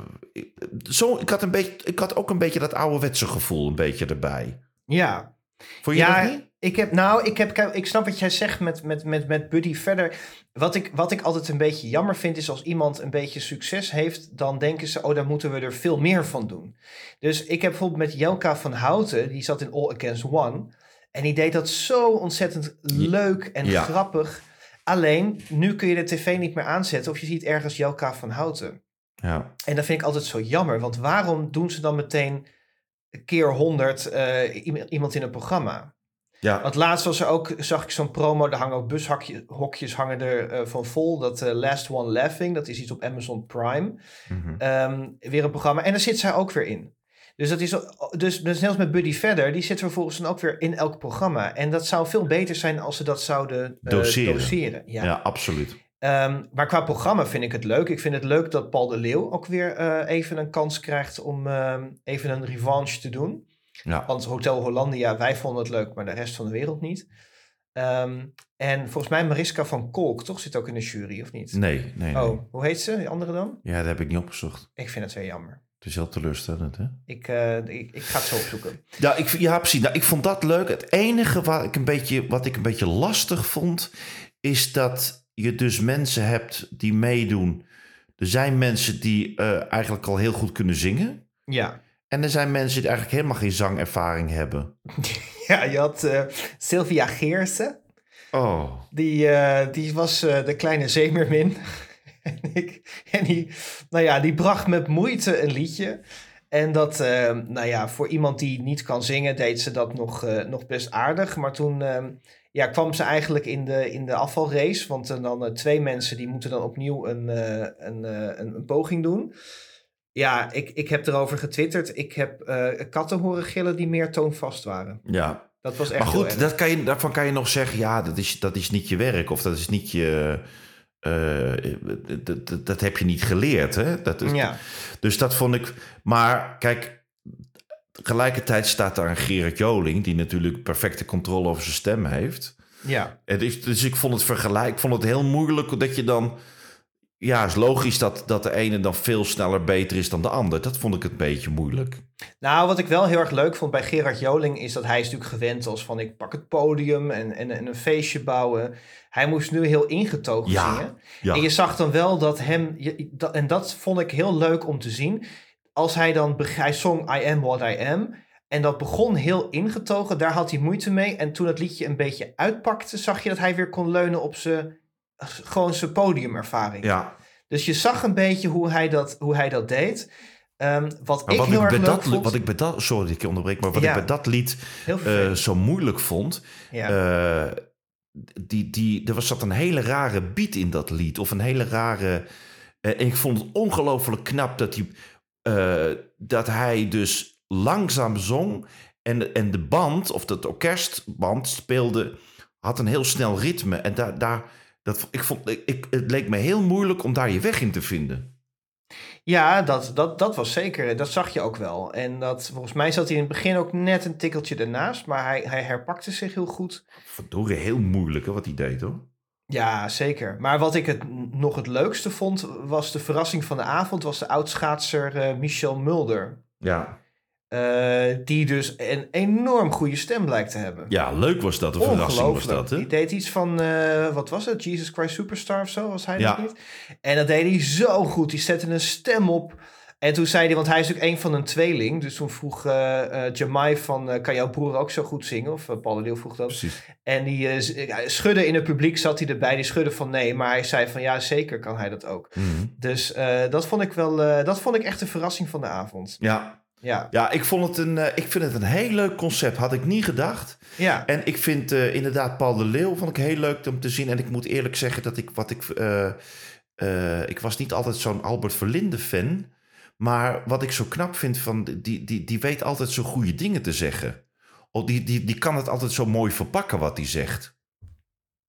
Speaker 4: zo, ik, had een beetje, ik had ook een beetje dat ouderwetse gevoel een beetje erbij.
Speaker 3: Ja,
Speaker 4: Vond je
Speaker 3: ja,
Speaker 4: dat niet?
Speaker 3: Ik heb, nou, ik, heb, kijk, ik snap wat jij zegt met, met, met, met Buddy verder. Wat ik, wat ik altijd een beetje jammer vind, is als iemand een beetje succes heeft, dan denken ze, oh, daar moeten we er veel meer van doen. Dus ik heb bijvoorbeeld met Jelka van Houten, die zat in All Against One. En die deed dat zo ontzettend leuk en
Speaker 4: Ja.
Speaker 3: grappig. Alleen, nu kun je de tv niet meer aanzetten of je ziet ergens Jelka van Houten.
Speaker 4: Ja.
Speaker 3: En dat vind ik altijd zo jammer, want waarom doen ze dan meteen keer honderd eh, iemand in een programma?
Speaker 4: Ja.
Speaker 3: Want laatst was er ook, zag ik zo'n promo, daar hangen ook bushokjes hangen er eh, van vol. Dat eh, Last One Laughing, dat is iets op Amazon Prime.
Speaker 4: Mhm.
Speaker 3: Ehm, weer een programma. En daar zit zij ook weer in. Dus dat is, dus, dus net als met Buddy Verder, die zit vervolgens dan ook weer in elk programma. En dat zou veel beter zijn als ze dat zouden eh,
Speaker 4: Doseren.
Speaker 3: doseren. Ja.
Speaker 4: ja, absoluut.
Speaker 3: Ehm, maar qua programma vind ik het leuk. Ik vind het leuk dat Paul de Leeuw ook weer eh, even een kans krijgt om ehm, even een revanche te doen.
Speaker 4: Ja.
Speaker 3: Want Hotel Hollandia, wij vonden het leuk, maar de rest van de wereld niet. Ehm, en volgens mij Mariska van Kolk, toch? Zit ook in de jury, of niet?
Speaker 4: Nee, nee, nee.
Speaker 3: Oh, hoe heet ze, die andere dan?
Speaker 4: Ja, dat heb ik niet opgezocht.
Speaker 3: Ik vind het weer jammer.
Speaker 4: Het is heel teleurstellend, hè?
Speaker 3: Ik, eh, ik, ik ga het zo opzoeken.
Speaker 4: Ja, ik, ja precies. Nou, ik vond dat leuk. Het enige wat ik, een beetje, wat ik een beetje lastig vond, is dat je dus mensen hebt die meedoen. Er zijn mensen die eh, eigenlijk al heel goed kunnen zingen.
Speaker 3: Ja,
Speaker 4: En er zijn mensen die eigenlijk helemaal geen zangervaring hebben.
Speaker 3: ja je had eh, Sylvia Geersen.
Speaker 4: Oh.
Speaker 3: Die, eh, die was eh, de kleine zeemermin. en, ik, en die, nou ja, die bracht met moeite een liedje. En dat, eh, nou ja, voor iemand die niet kan zingen, deed ze dat nog, eh, nog best aardig. Maar toen eh, ja, kwam ze eigenlijk in de, in de afvalrace. Want eh, dan eh, twee mensen die moeten dan opnieuw een, eh, een, eh, een, een poging doen. Ja, ik, ik heb erover getwitterd. Ik heb eh, katten horen gillen die meer toonvast waren.
Speaker 4: Ja,
Speaker 3: Dat was echt
Speaker 4: Maar
Speaker 3: heel erg.
Speaker 4: goed, dat kan je, daarvan kan je nog zeggen, ja, dat is, dat is niet je werk of dat is niet je. eh, dat, dat, dat heb je niet geleerd. Hè? Dat, is-
Speaker 3: Ja.
Speaker 4: Dus dat vond ik. Maar kijk, tegelijkertijd staat daar een Gerard Joling, die natuurlijk perfecte controle over zijn stem heeft.
Speaker 3: Ja.
Speaker 4: Het is, dus ik vond het vergelijk, ik vond het heel moeilijk dat je dan. Ja, het is logisch dat, dat de ene dan veel sneller beter is dan de ander. Dat vond ik een beetje moeilijk.
Speaker 3: Nou, wat ik wel heel erg leuk vond bij Gerard Joling is dat hij is natuurlijk gewend als van ik pak het podium en, en, en een feestje bouwen. Hij moest nu heel ingetogen
Speaker 4: Ja,
Speaker 3: zingen.
Speaker 4: ja.
Speaker 3: En je zag dan wel dat hem, je- dat- en dat vond ik heel leuk om te zien. Als hij dan, beg- hij zong I am what I am. En dat begon heel ingetogen, daar had hij moeite mee. En toen het liedje een beetje uitpakte, zag je dat hij weer kon leunen op zijn, gewoon zijn podiumervaring.
Speaker 4: Ja,
Speaker 3: Dus je zag een beetje hoe hij dat, hoe hij dat deed. Ehm, wat
Speaker 4: Maar
Speaker 3: ik
Speaker 4: wat,
Speaker 3: heel
Speaker 4: ik
Speaker 3: erg
Speaker 4: bij
Speaker 3: leuk
Speaker 4: dat,
Speaker 3: vond,
Speaker 4: wat ik bij dat, sorry dat ik je onderbreek, maar wat
Speaker 3: Ja.
Speaker 4: ik bij dat lied
Speaker 3: heel
Speaker 4: eh,
Speaker 3: vervelend.
Speaker 4: zo moeilijk vond,
Speaker 3: ja.
Speaker 4: eh, die, die, er was, zat een hele rare beat in dat lied. Of een hele rare. eh, en ik vond het ongelooflijk knap dat hij, eh, dat hij dus langzaam zong. En, en de band, of dat orkestband, speelde. had een heel snel ritme. En daar. daar dat, ik vond, ik, ik- het leek me heel moeilijk om daar je weg in te vinden.
Speaker 3: Ja, dat, dat, dat was zeker. Dat zag je ook wel. En dat, volgens mij zat hij in het begin ook net een tikkeltje ernaast. Maar hij, hij herpakte zich heel goed.
Speaker 4: Verdorie, heel moeilijk hè, wat hij deed hoor.
Speaker 3: Ja, zeker. Maar wat ik het n- nog het leukste vond, was de verrassing van de avond, was de oudschaatser eh, Michel Mulder.
Speaker 4: Ja,
Speaker 3: Eh, die dus een enorm goede stem blijkt te hebben.
Speaker 4: Ja, leuk was dat. Een verrassing was
Speaker 3: Ongelooflijk.
Speaker 4: dat, hè?
Speaker 3: Die deed iets van, eh, wat was het? Jesus Christ Superstar of zo, was hij
Speaker 4: Ja.
Speaker 3: dat niet? En dat deed hij zo goed. Die zette een stem op. En toen zei hij, want hij is ook een van een tweeling. Dus toen vroeg eh eh, Jamai van, eh, kan jouw broer ook zo goed zingen? Of eh, Paul de Leeuw vroeg dat.
Speaker 4: Precies.
Speaker 3: En die eh, z- eh, schudde in het publiek, zat hij erbij. Die schudde van nee, maar hij zei van ja, zeker kan hij dat ook.
Speaker 4: Mhm.
Speaker 3: Dus eh, dat vond ik wel, eh, dat vond ik echt de verrassing van de avond.
Speaker 4: Ja.
Speaker 3: Ja,
Speaker 4: ja, ik vond het een, eh, ik vind het een heel leuk concept. Had ik niet gedacht.
Speaker 3: ja.
Speaker 4: En ik vind eh, inderdaad Paul de Leeuw vond ik heel leuk om te zien. En ik moet eerlijk zeggen dat ik wat ik. eh, eh, ik was niet altijd zo'n Albert Verlinde fan. Maar wat ik zo knap vind van. Die, die, die weet altijd zo goede dingen te zeggen. Oh, die, die, die kan het altijd zo mooi verpakken wat hij zegt.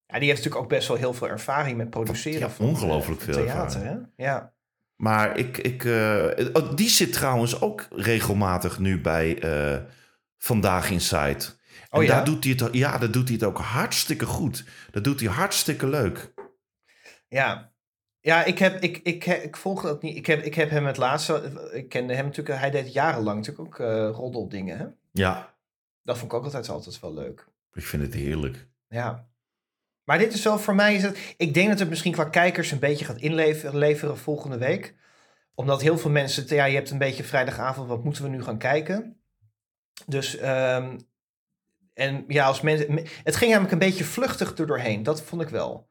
Speaker 3: Ja, die heeft natuurlijk ook best wel heel veel ervaring met produceren.
Speaker 4: Ja,
Speaker 3: van,
Speaker 4: ongelooflijk
Speaker 3: eh,
Speaker 4: veel
Speaker 3: theater, Hè? Ja.
Speaker 4: Maar ik, ik, eh, oh, die zit trouwens ook regelmatig nu bij eh, Vandaag Insight. En
Speaker 3: Oh ja?
Speaker 4: daar doet hij het, ja, daar doet hij het ook hartstikke goed. Dat doet hij hartstikke leuk.
Speaker 3: ja. Ja, ik, heb, ik, ik, ik, volg dat niet. Ik heb, ik heb hem het laatste. Ik kende hem natuurlijk. Hij deed jarenlang natuurlijk ook eh roddeldingen. Hè?
Speaker 4: Ja,
Speaker 3: Dat vond ik ook altijd, altijd wel leuk.
Speaker 4: ik vind het heerlijk.
Speaker 3: Ja. Maar dit is wel voor mij. Is het, ik denk dat het misschien qua kijkers een beetje gaat inleveren leveren volgende week. Omdat heel veel mensen. Ja, je hebt een beetje vrijdagavond. Wat moeten we nu gaan kijken? Dus. ehm, en ja, als mensen. me- Het ging namelijk een beetje vluchtig er doorheen. Dat vond ik wel.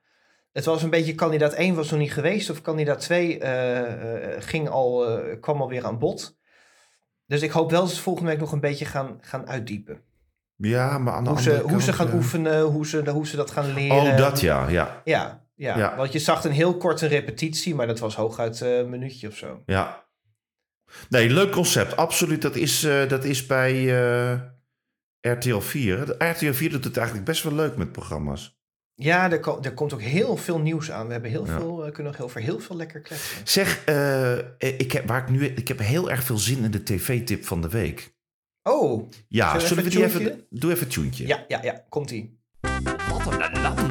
Speaker 3: Het was een beetje. Kandidaat 1 was nog niet geweest. Of kandidaat 2 eh, eh, ging al, eh, kwam alweer aan bod. Dus ik hoop wel dat ze volgende week nog een beetje gaan, gaan uitdiepen.
Speaker 4: Ja, maar aan de
Speaker 3: Hoe
Speaker 4: andere
Speaker 3: ze, hoe
Speaker 4: kant,
Speaker 3: ze gaan
Speaker 4: ja.
Speaker 3: oefenen, eh, hoe ze, hoe ze dat gaan leren.
Speaker 4: Oh, dat ja, ja,
Speaker 3: Ja, ja,
Speaker 4: Ja.
Speaker 3: want je zag een heel korte repetitie, maar dat was hooguit eh, een minuutje of zo.
Speaker 4: ja. Nee, leuk concept, absoluut. Dat is, eh, dat is bij eh, RTL 4. De RTL 4 doet het eigenlijk best wel leuk met programma's.
Speaker 3: Ja, er, ko- er komt ook heel veel nieuws aan. We hebben heel
Speaker 4: Ja.
Speaker 3: veel, eh, kunnen nog over heel veel lekker kletsen.
Speaker 4: Zeg, eh, ik, heb, waar ik, nu, ik heb heel erg veel zin in de tv-tip van de week.
Speaker 3: Oh,
Speaker 4: Ja,
Speaker 3: Zullen we
Speaker 4: zullen we
Speaker 3: even
Speaker 4: die
Speaker 3: tuentje?
Speaker 4: even... Doe even het tuentje.
Speaker 3: ja, ja, ja, komt ie.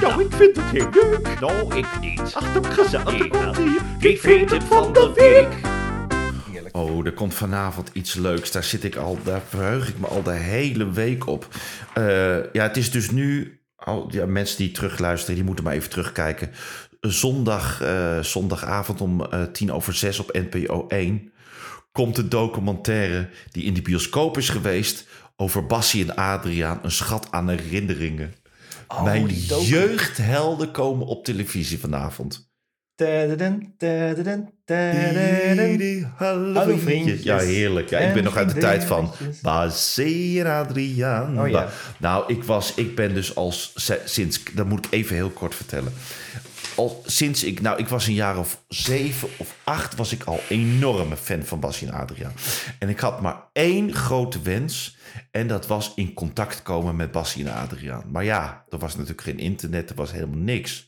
Speaker 5: Nou, ik vind het heel leuk. Nou, ik niet. Ach, dat gezellig. Ik komt die. Die vind het van de week.
Speaker 3: Heerlijk.
Speaker 4: Oh, er komt vanavond iets leuks. Daar zit ik al, daar verheug ik me al de hele week op. Eh, ja, het is dus nu. al- ja, mensen die terugluisteren, die moeten maar even terugkijken. Zondag, eh, zondagavond om eh, tien over zes op NPO 1 komt de documentaire die in de bioscoop is geweest over Bassie en Adriaan, een schat aan herinneringen. Mijn
Speaker 3: Oh, die docu.
Speaker 4: jeugdhelden komen op televisie vanavond.
Speaker 3: Tadadun, tadadun, tadadun.
Speaker 4: Hallo vriendjes.
Speaker 3: vriendjes.
Speaker 4: Ja, heerlijk. Ja, ik
Speaker 3: En
Speaker 4: ben nog uit de tijd van
Speaker 3: vriendinnetjes.
Speaker 4: Basé en Adriaan.
Speaker 3: Oh ja.
Speaker 4: Nou, ik, was, ik ben dus als se- sinds... Dat moet ik even heel kort vertellen. Al, sinds ik... Nou, ik was een jaar of zeven of acht... was ik al enorme fan van Bassie en Adriaan. En ik had maar één grote wens... En dat was in contact komen met Bassie en Adriaan. Maar ja, er was natuurlijk geen internet, er was helemaal niks.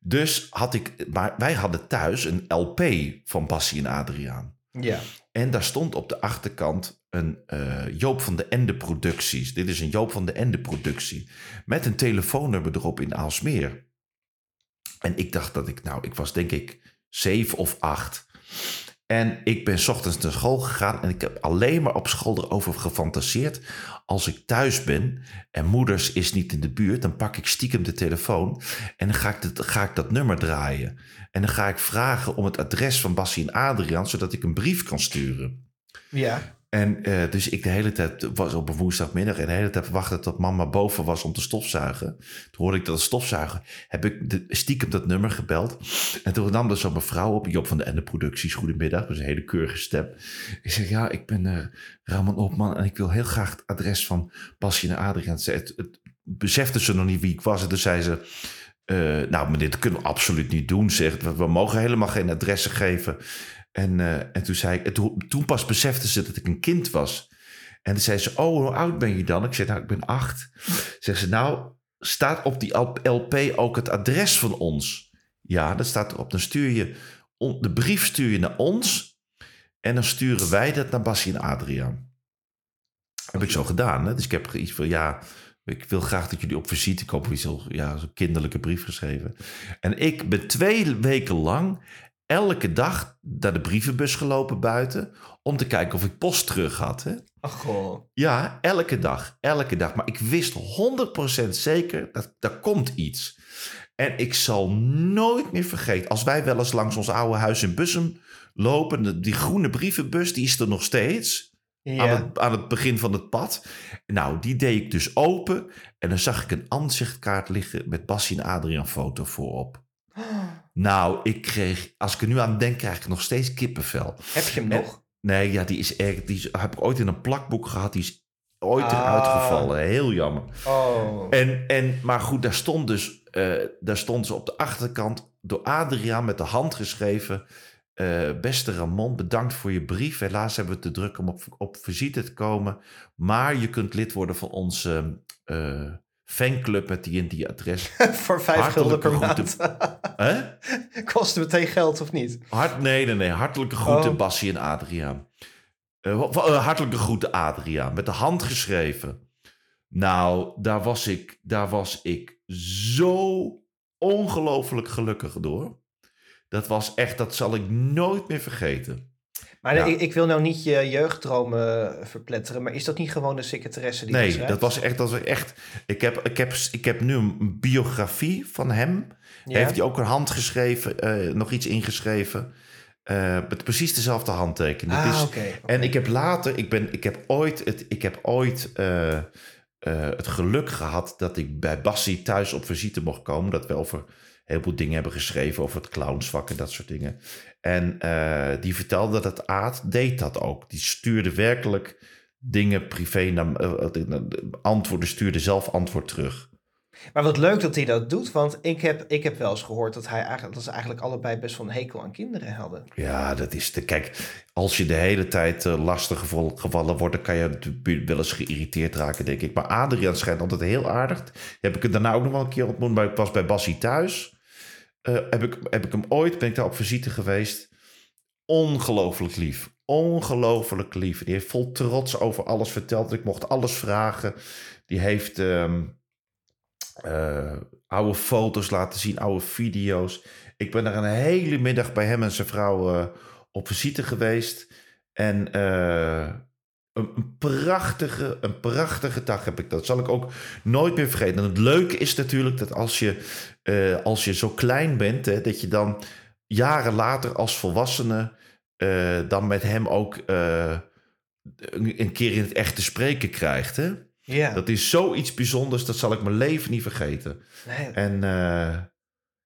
Speaker 4: Dus had ik, maar wij hadden thuis een LP van Bassie en Adriaan.
Speaker 3: Ja.
Speaker 4: En daar stond op de achterkant een eh, Joop van de Ende producties. Dit is een Joop van de Ende productie. Met een telefoonnummer erop in Aalsmeer. En ik dacht dat ik, nou, ik was denk ik zeven of acht. En ik ben 's ochtends naar school gegaan en ik heb alleen maar op school erover gefantaseerd. Als ik thuis ben en moeders is niet in de buurt, dan pak ik stiekem de telefoon en dan ga ik, dat- ga ik dat nummer draaien. En dan ga ik vragen om het adres van Bassie en Adriaan, zodat ik een brief kan sturen.
Speaker 3: Ja.
Speaker 4: En eh, dus ik de hele tijd, was op een woensdagmiddag, en de hele tijd wachtte tot mama boven was om te stofzuigen. Toen hoorde ik dat het stofzuigen, heb ik de, stiekem dat nummer gebeld. En toen nam er zo'n mevrouw op, Job van de Ende Producties, goedemiddag, dus een hele keurige stem. Ik zeg, ja, ik ben eh Ramon Opman en ik wil heel graag het adres van Basje en Adriaan. Ze- Het, het, besefte ze nog niet wie ik was en toen zei ze... eh, nou, meneer, dat kunnen we absoluut niet doen, zegt. We, we mogen helemaal geen adressen geven. En, eh, en toen zei ik, en toen, toen pas besefte ze dat ik een kind was. En toen zei ze, oh, hoe oud ben je dan? Ik zei, nou, ik ben acht. Zegt ze, nou, staat op die LP ook het adres van ons? Ja, dat staat erop. Dan stuur je, on- de brief stuur je naar ons. En dan sturen wij dat naar Bassie en Adriaan. Heb ik zo gedaan. Hè? Dus ik heb ge- iets van, ja, ik wil graag dat jullie op visite komen. Ik heb ja, zo'n kinderlijke brief geschreven. En ik ben twee weken lang elke dag naar de brievenbus gelopen buiten... om te kijken of ik post terug had. Hè?
Speaker 3: Ach, goh.
Speaker 4: Ja, elke dag. Elke dag. Maar ik wist 100% zeker dat er komt iets. En ik zal nooit meer vergeten. Als wij wel eens langs ons oude huis in Bussum lopen. de- Die groene brievenbus, die is er nog steeds
Speaker 3: Ja.
Speaker 4: aan, het, aan het begin van het pad. Nou, die deed ik dus open. En dan zag ik een aanzichtkaart liggen met Bassie en Adriaan foto voorop. Nou, ik kreeg, als ik er nu aan denk, krijg ik nog steeds kippenvel.
Speaker 3: Heb je hem nog?
Speaker 4: Nee, ja, die is echt, die is- heb ik ooit in een plakboek gehad. Die is ooit
Speaker 3: Ah.
Speaker 4: eruit gevallen. Heel jammer.
Speaker 3: Oh.
Speaker 4: En, en, maar goed, daar stond dus, eh, daar stond ze op de achterkant door Adriaan met de hand geschreven. eh, beste Ramon, bedankt voor je brief. Helaas hebben we te druk om op, op visite te komen. Maar je kunt lid worden van onze eh, fanclub met die en die adres.
Speaker 3: Voor vijf gulden
Speaker 4: hartelijke
Speaker 3: per maand.
Speaker 4: Hè?
Speaker 3: Kost het meteen geld of niet?
Speaker 4: Hart, nee, nee, nee. Hartelijke groeten,
Speaker 3: Oh.
Speaker 4: Bassie en Adriaan. Eh, wa- wa- eh, hartelijke groeten, Adriaan. Met de hand geschreven. Nou, daar was ik, daar was ik zo ongelooflijk gelukkig door. Dat was echt, dat zal ik nooit meer vergeten.
Speaker 3: Maar
Speaker 4: Ja.
Speaker 3: ik, ik wil nou niet je jeugddromen eh, verpletteren, maar is dat niet gewoon de secretaresse die
Speaker 4: Nee,
Speaker 3: schrijft?
Speaker 4: dat was echt, dat was echt. Ik heb, ik heb, ik heb nu een biografie van hem.
Speaker 3: Ja.
Speaker 4: Heeft hij ook een hand geschreven, eh, nog iets ingeschreven. Eh, met precies dezelfde handtekening.
Speaker 3: Ah,
Speaker 4: Het is-
Speaker 3: oké. oké.
Speaker 4: En ik heb later, ik, ben, ik heb ooit, het, ik heb ooit eh, eh, het geluk gehad dat ik bij Bassie thuis op visite mocht komen. Dat we over heel veel dingen hebben geschreven, over het clownsvak en dat soort dingen. En eh, die vertelde dat Aad deed dat ook. Die stuurde werkelijk dingen privé, naar, eh, eh, antwoorden stuurde zelf antwoord terug.
Speaker 3: Maar wat leuk dat hij dat doet, want ik heb, ik heb wel eens gehoord dat, hij eigenlijk, dat ze eigenlijk allebei best wel een hekel aan kinderen hadden.
Speaker 4: Ja, dat is de. Kijk, als je de hele tijd eh, lastig geval- gevallen wordt, dan kan je natuurlijk wel eens geïrriteerd raken, denk ik. Maar Adriaan schijnt altijd heel aardig. Heb ik hem daarna ook nog wel een keer ontmoet, maar ik was bij Bassie thuis. Eh, heb, ik, heb ik hem ooit, ben ik daar op visite geweest. Ongelooflijk lief. Ongelooflijk lief. Die heeft vol trots over alles verteld. Ik mocht alles vragen. Die heeft ehm, eh, oude foto's laten zien, oude video's. Ik ben er een hele middag bij hem en zijn vrouw eh, op visite geweest. En eh, een, een prachtige, een prachtige dag heb ik. Dat zal ik ook nooit meer vergeten. En het leuke is natuurlijk dat als je, eh, als je zo klein bent, hè, dat je dan jaren later als volwassene eh, dan met hem ook eh, een, een keer in het echt te spreken krijgt. Hè?
Speaker 3: Ja.
Speaker 4: Dat is zoiets bijzonders, dat zal ik mijn leven niet vergeten.
Speaker 3: Nee.
Speaker 4: En eh,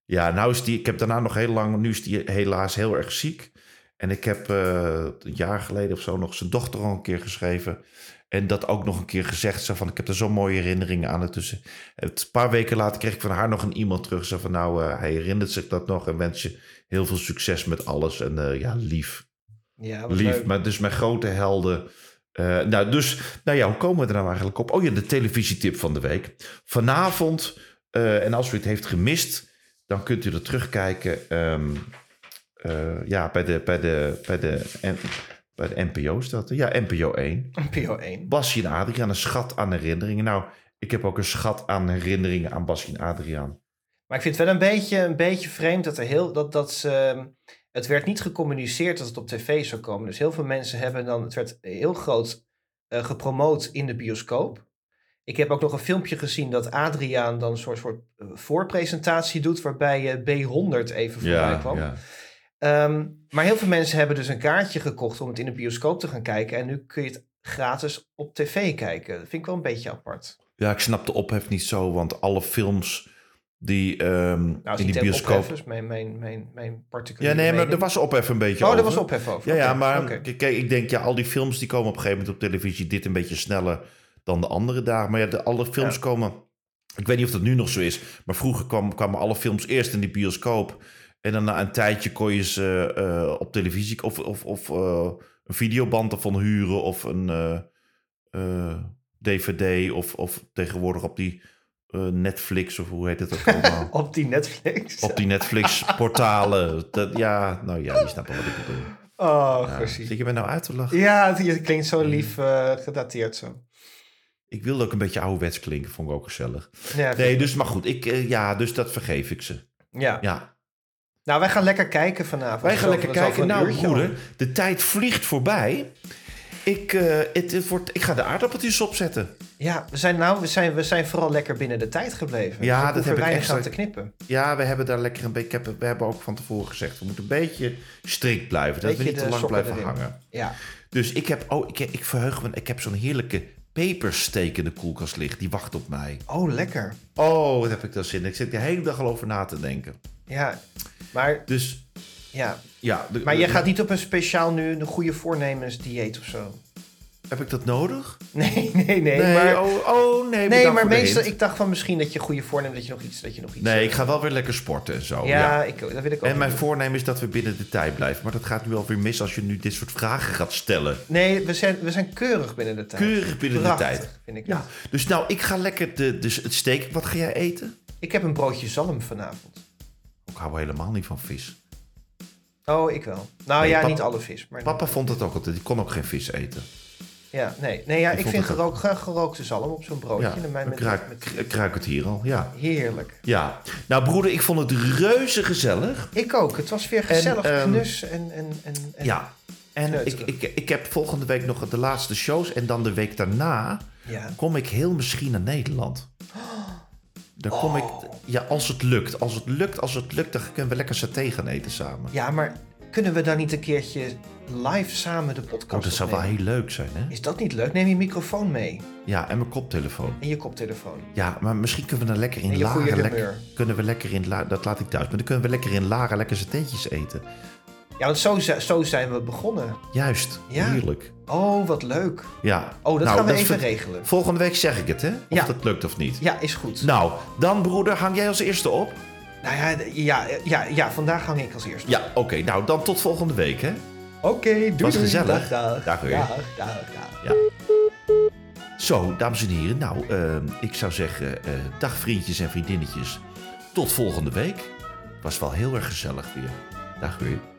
Speaker 4: Ja, nou is die. Ik heb daarna nog heel lang. Nu is die helaas heel erg ziek. En ik heb eh, een jaar geleden of zo nog zijn dochter al een keer geschreven. En dat ook nog een keer gezegd. Zo van, ik heb er zo'n mooie herinneringen aan. Dus een paar weken later kreeg ik van haar nog een e-mail terug. Zo van, nou, eh, hij herinnert zich dat nog. En wens je heel veel succes met alles. En eh, ja, lief.
Speaker 3: Ja, wat
Speaker 4: Lief,
Speaker 3: leuk.
Speaker 4: maar dus mijn grote helden. Eh, nou, dus, nou ja, hoe komen we er nou eigenlijk op? Oh ja, de televisietip van de week. Vanavond, eh, en als u het heeft gemist, dan kunt u dat terugkijken. ehm, eh, ja, bij de, bij, de, bij, de, en- bij de NPO is dat. Ja, NPO 1.
Speaker 3: PO1.
Speaker 4: Basje en Adriaan, een schat aan herinneringen. Nou, ik heb ook een schat aan herinneringen aan Basje en Adriaan.
Speaker 3: Maar ik vind het wel een beetje, een beetje vreemd dat er heel. Dat, dat ze, ehm, het werd niet gecommuniceerd dat het op tv zou komen. Dus heel veel mensen hebben dan. Het werd heel groot eh, gepromoot in de bioscoop. Ik heb ook nog een filmpje gezien dat Adriaan dan een soort, soort eh, voorpresentatie doet. waarbij eh, B100 even voorbij kwam. Ehm, maar heel veel mensen hebben dus een kaartje gekocht om het in de bioscoop te gaan kijken. En nu kun je het gratis op tv kijken. Dat vind ik wel een beetje apart.
Speaker 4: Ja, ik snap de ophef niet zo, want alle films die ehm,
Speaker 3: Nou,
Speaker 4: in
Speaker 3: niet
Speaker 4: die
Speaker 3: helemaal
Speaker 4: bioscoop...
Speaker 3: ophef, is mijn, mijn, mijn, mijn
Speaker 4: Ja,
Speaker 3: particuliere
Speaker 4: nee, maar
Speaker 3: mening.
Speaker 4: er was ophef een beetje
Speaker 3: Oh,
Speaker 4: over.
Speaker 3: er was ophef over.
Speaker 4: Ja, ja,
Speaker 3: Oké,
Speaker 4: maar
Speaker 3: oké.
Speaker 4: kijk, ik denk, ja, al die films die komen op een gegeven moment op televisie. Dit een beetje sneller dan de andere dagen. Maar ja, de, alle films
Speaker 3: Ja.
Speaker 4: komen... Ik weet niet of dat nu nog zo is. Maar vroeger kwam, kwamen alle films eerst in die bioscoop. En dan na een tijdje kon je ze eh, op televisie... Of, of, of eh, een videoband ervan huren. Of een eh, eh, dvd. Of, of tegenwoordig op die eh, Netflix. Of hoe heet het ook allemaal.
Speaker 3: Op die Netflix.
Speaker 4: op die Netflix-portalen. Dat, ja, nou ja, je snapt wel wat ik bedoel.
Speaker 3: Oh,
Speaker 4: Ja. Mm.
Speaker 3: precies.
Speaker 4: Zit je mij nou uit te lachen?
Speaker 3: Ja, het, het klinkt zo lief eh, gedateerd zo.
Speaker 4: Ik wilde ook een beetje ouderwets klinken, vond ik ook gezellig.
Speaker 3: Ja,
Speaker 4: Nee, dus maar goed, ik, eh, ja, dus dat vergeef ik ze.
Speaker 3: ja.
Speaker 4: Ja.
Speaker 3: Nou, wij gaan lekker kijken vanavond.
Speaker 4: Wij gaan
Speaker 3: Zo,
Speaker 4: lekker
Speaker 3: dat is al
Speaker 4: kijken.
Speaker 3: voor een
Speaker 4: Nou,
Speaker 3: uurtje
Speaker 4: broeder, de tijd vliegt voorbij. Ik, eh, het, het wordt, ik ga de aardappeltjes opzetten.
Speaker 3: al. Ja, we zijn, nou, we, zijn, we zijn vooral lekker binnen de tijd gebleven.
Speaker 4: Ja, dat
Speaker 3: hoeven
Speaker 4: heb ik
Speaker 3: weinig
Speaker 4: extra-
Speaker 3: aan te knippen.
Speaker 4: Ja, we hebben daar lekker een beetje. ik heb- We hebben ook van tevoren gezegd. We moeten een beetje strikt blijven. Dat
Speaker 3: Beetje
Speaker 4: we niet te
Speaker 3: de
Speaker 4: lang
Speaker 3: sokken
Speaker 4: blijven
Speaker 3: erin.
Speaker 4: hangen.
Speaker 3: Ja.
Speaker 4: Dus ik heb. Oh, ik, ik verheug me. Ik heb zo'n heerlijke pepersteek in de koelkast liggen. Die wacht op mij.
Speaker 3: Oh, lekker.
Speaker 4: Oh, wat heb ik daar zin in? Ik zit de hele dag al over na te denken.
Speaker 3: Ja, maar,
Speaker 4: Dus
Speaker 3: ja.
Speaker 4: ja. de-
Speaker 3: maar jij
Speaker 4: de-
Speaker 3: gaat niet op een speciaal nu een goede voornemens dieet of zo.
Speaker 4: Heb ik dat nodig?
Speaker 3: Nee, nee, nee. maar,
Speaker 4: oh, oh nee.
Speaker 3: nee,
Speaker 4: bedankt
Speaker 3: maar
Speaker 4: voor de
Speaker 3: meestal,
Speaker 4: hint.
Speaker 3: ik dacht van misschien dat je goede voornemens, dat je nog iets, dat je nog iets...
Speaker 4: Nee, ik ga wel weer lekker sporten en zo. Oh, Ja.
Speaker 3: ja, ik, dat wil ik ook.
Speaker 4: En mijn
Speaker 3: doen.
Speaker 4: voornemen is dat we binnen de tijd blijven. Maar dat gaat nu alweer mis als je nu dit soort vragen gaat stellen.
Speaker 3: Nee, we zijn, we zijn keurig binnen de tijd.
Speaker 4: Keurig binnen de
Speaker 3: Prachtig,
Speaker 4: tijd.
Speaker 3: vind ik.
Speaker 4: Ja. Dus nou, ik ga lekker de, dus het steek. Wat ga jij eten?
Speaker 3: Ik heb een broodje zalm vanavond.
Speaker 4: Ik hou helemaal niet van vis.
Speaker 3: Oh, ik wel. Nou
Speaker 4: Nee,
Speaker 3: ja,
Speaker 4: pap-
Speaker 3: niet alle vis. Maar
Speaker 4: Papa vond het ook altijd. Die kon ook geen vis eten.
Speaker 3: Ja, nee. nee ja,
Speaker 4: Ik
Speaker 3: ik,
Speaker 4: vond
Speaker 3: vind
Speaker 4: het
Speaker 3: gerook, graag gerookte zalm op zo'n broodje.
Speaker 4: Ja,
Speaker 3: En dan mijn
Speaker 4: ik
Speaker 3: met-
Speaker 4: ruik,
Speaker 3: met-
Speaker 4: ik ruik het hier al. Ja.
Speaker 3: Heerlijk.
Speaker 4: ja. Nou broeder, ik vond het reuze gezellig.
Speaker 3: Ik ook. Het was weer gezellig,
Speaker 4: ehm,
Speaker 3: knus en... en, en, en
Speaker 4: Ja. En ik,
Speaker 3: Kneuterig.
Speaker 4: ik, ik heb volgende week nog de laatste shows. En dan de week daarna
Speaker 3: Ja.
Speaker 4: kom ik heel misschien naar Nederland. Dan kom
Speaker 3: Oh.
Speaker 4: ik... Ja, als het lukt. Als het lukt, als het lukt, dan kunnen we lekker saté gaan eten samen.
Speaker 3: ja, maar kunnen we dan niet een keertje live samen de podcast
Speaker 4: Oh, dat zou wel
Speaker 3: opnemen?
Speaker 4: heel leuk zijn, hè?
Speaker 3: Is dat niet leuk? Neem je microfoon mee
Speaker 4: Ja, en mijn koptelefoon.
Speaker 3: en je koptelefoon.
Speaker 4: Ja, maar misschien kunnen we dan lekker in
Speaker 3: En je goede
Speaker 4: Laren... Lekker,
Speaker 3: humeur.
Speaker 4: kunnen we lekker in Laren... Dat laat ik thuis. Maar dan kunnen we lekker in Laren lekker satéetjes eten.
Speaker 3: Ja, want zo, zi- zo zijn we begonnen.
Speaker 4: Juist.
Speaker 3: Ja.
Speaker 4: Heerlijk.
Speaker 3: Oh, wat leuk.
Speaker 4: Ja.
Speaker 3: Oh, dat gaan we
Speaker 4: is
Speaker 3: even
Speaker 4: het-
Speaker 3: regelen.
Speaker 4: Volgende week zeg ik het, hè? Of
Speaker 3: Ja.
Speaker 4: dat lukt of niet.
Speaker 3: Ja, is goed.
Speaker 4: Nou, dan broeder, hang jij als eerste op?
Speaker 3: Nou ja, d- ja, ja, ja, vandaag hang ik als eerste.
Speaker 4: Ja, oké. nou, dan tot volgende week, hè?
Speaker 3: Oké, doei.
Speaker 4: Was
Speaker 3: doei.
Speaker 4: gezellig.
Speaker 3: Dag, dag.
Speaker 4: Dag weer.
Speaker 3: Dag, dag, dag.
Speaker 4: Zo, dames en heren. Nou, eh, ik zou zeggen, eh, dag vriendjes en vriendinnetjes. Tot volgende week. Was wel heel erg gezellig weer. Dag weer.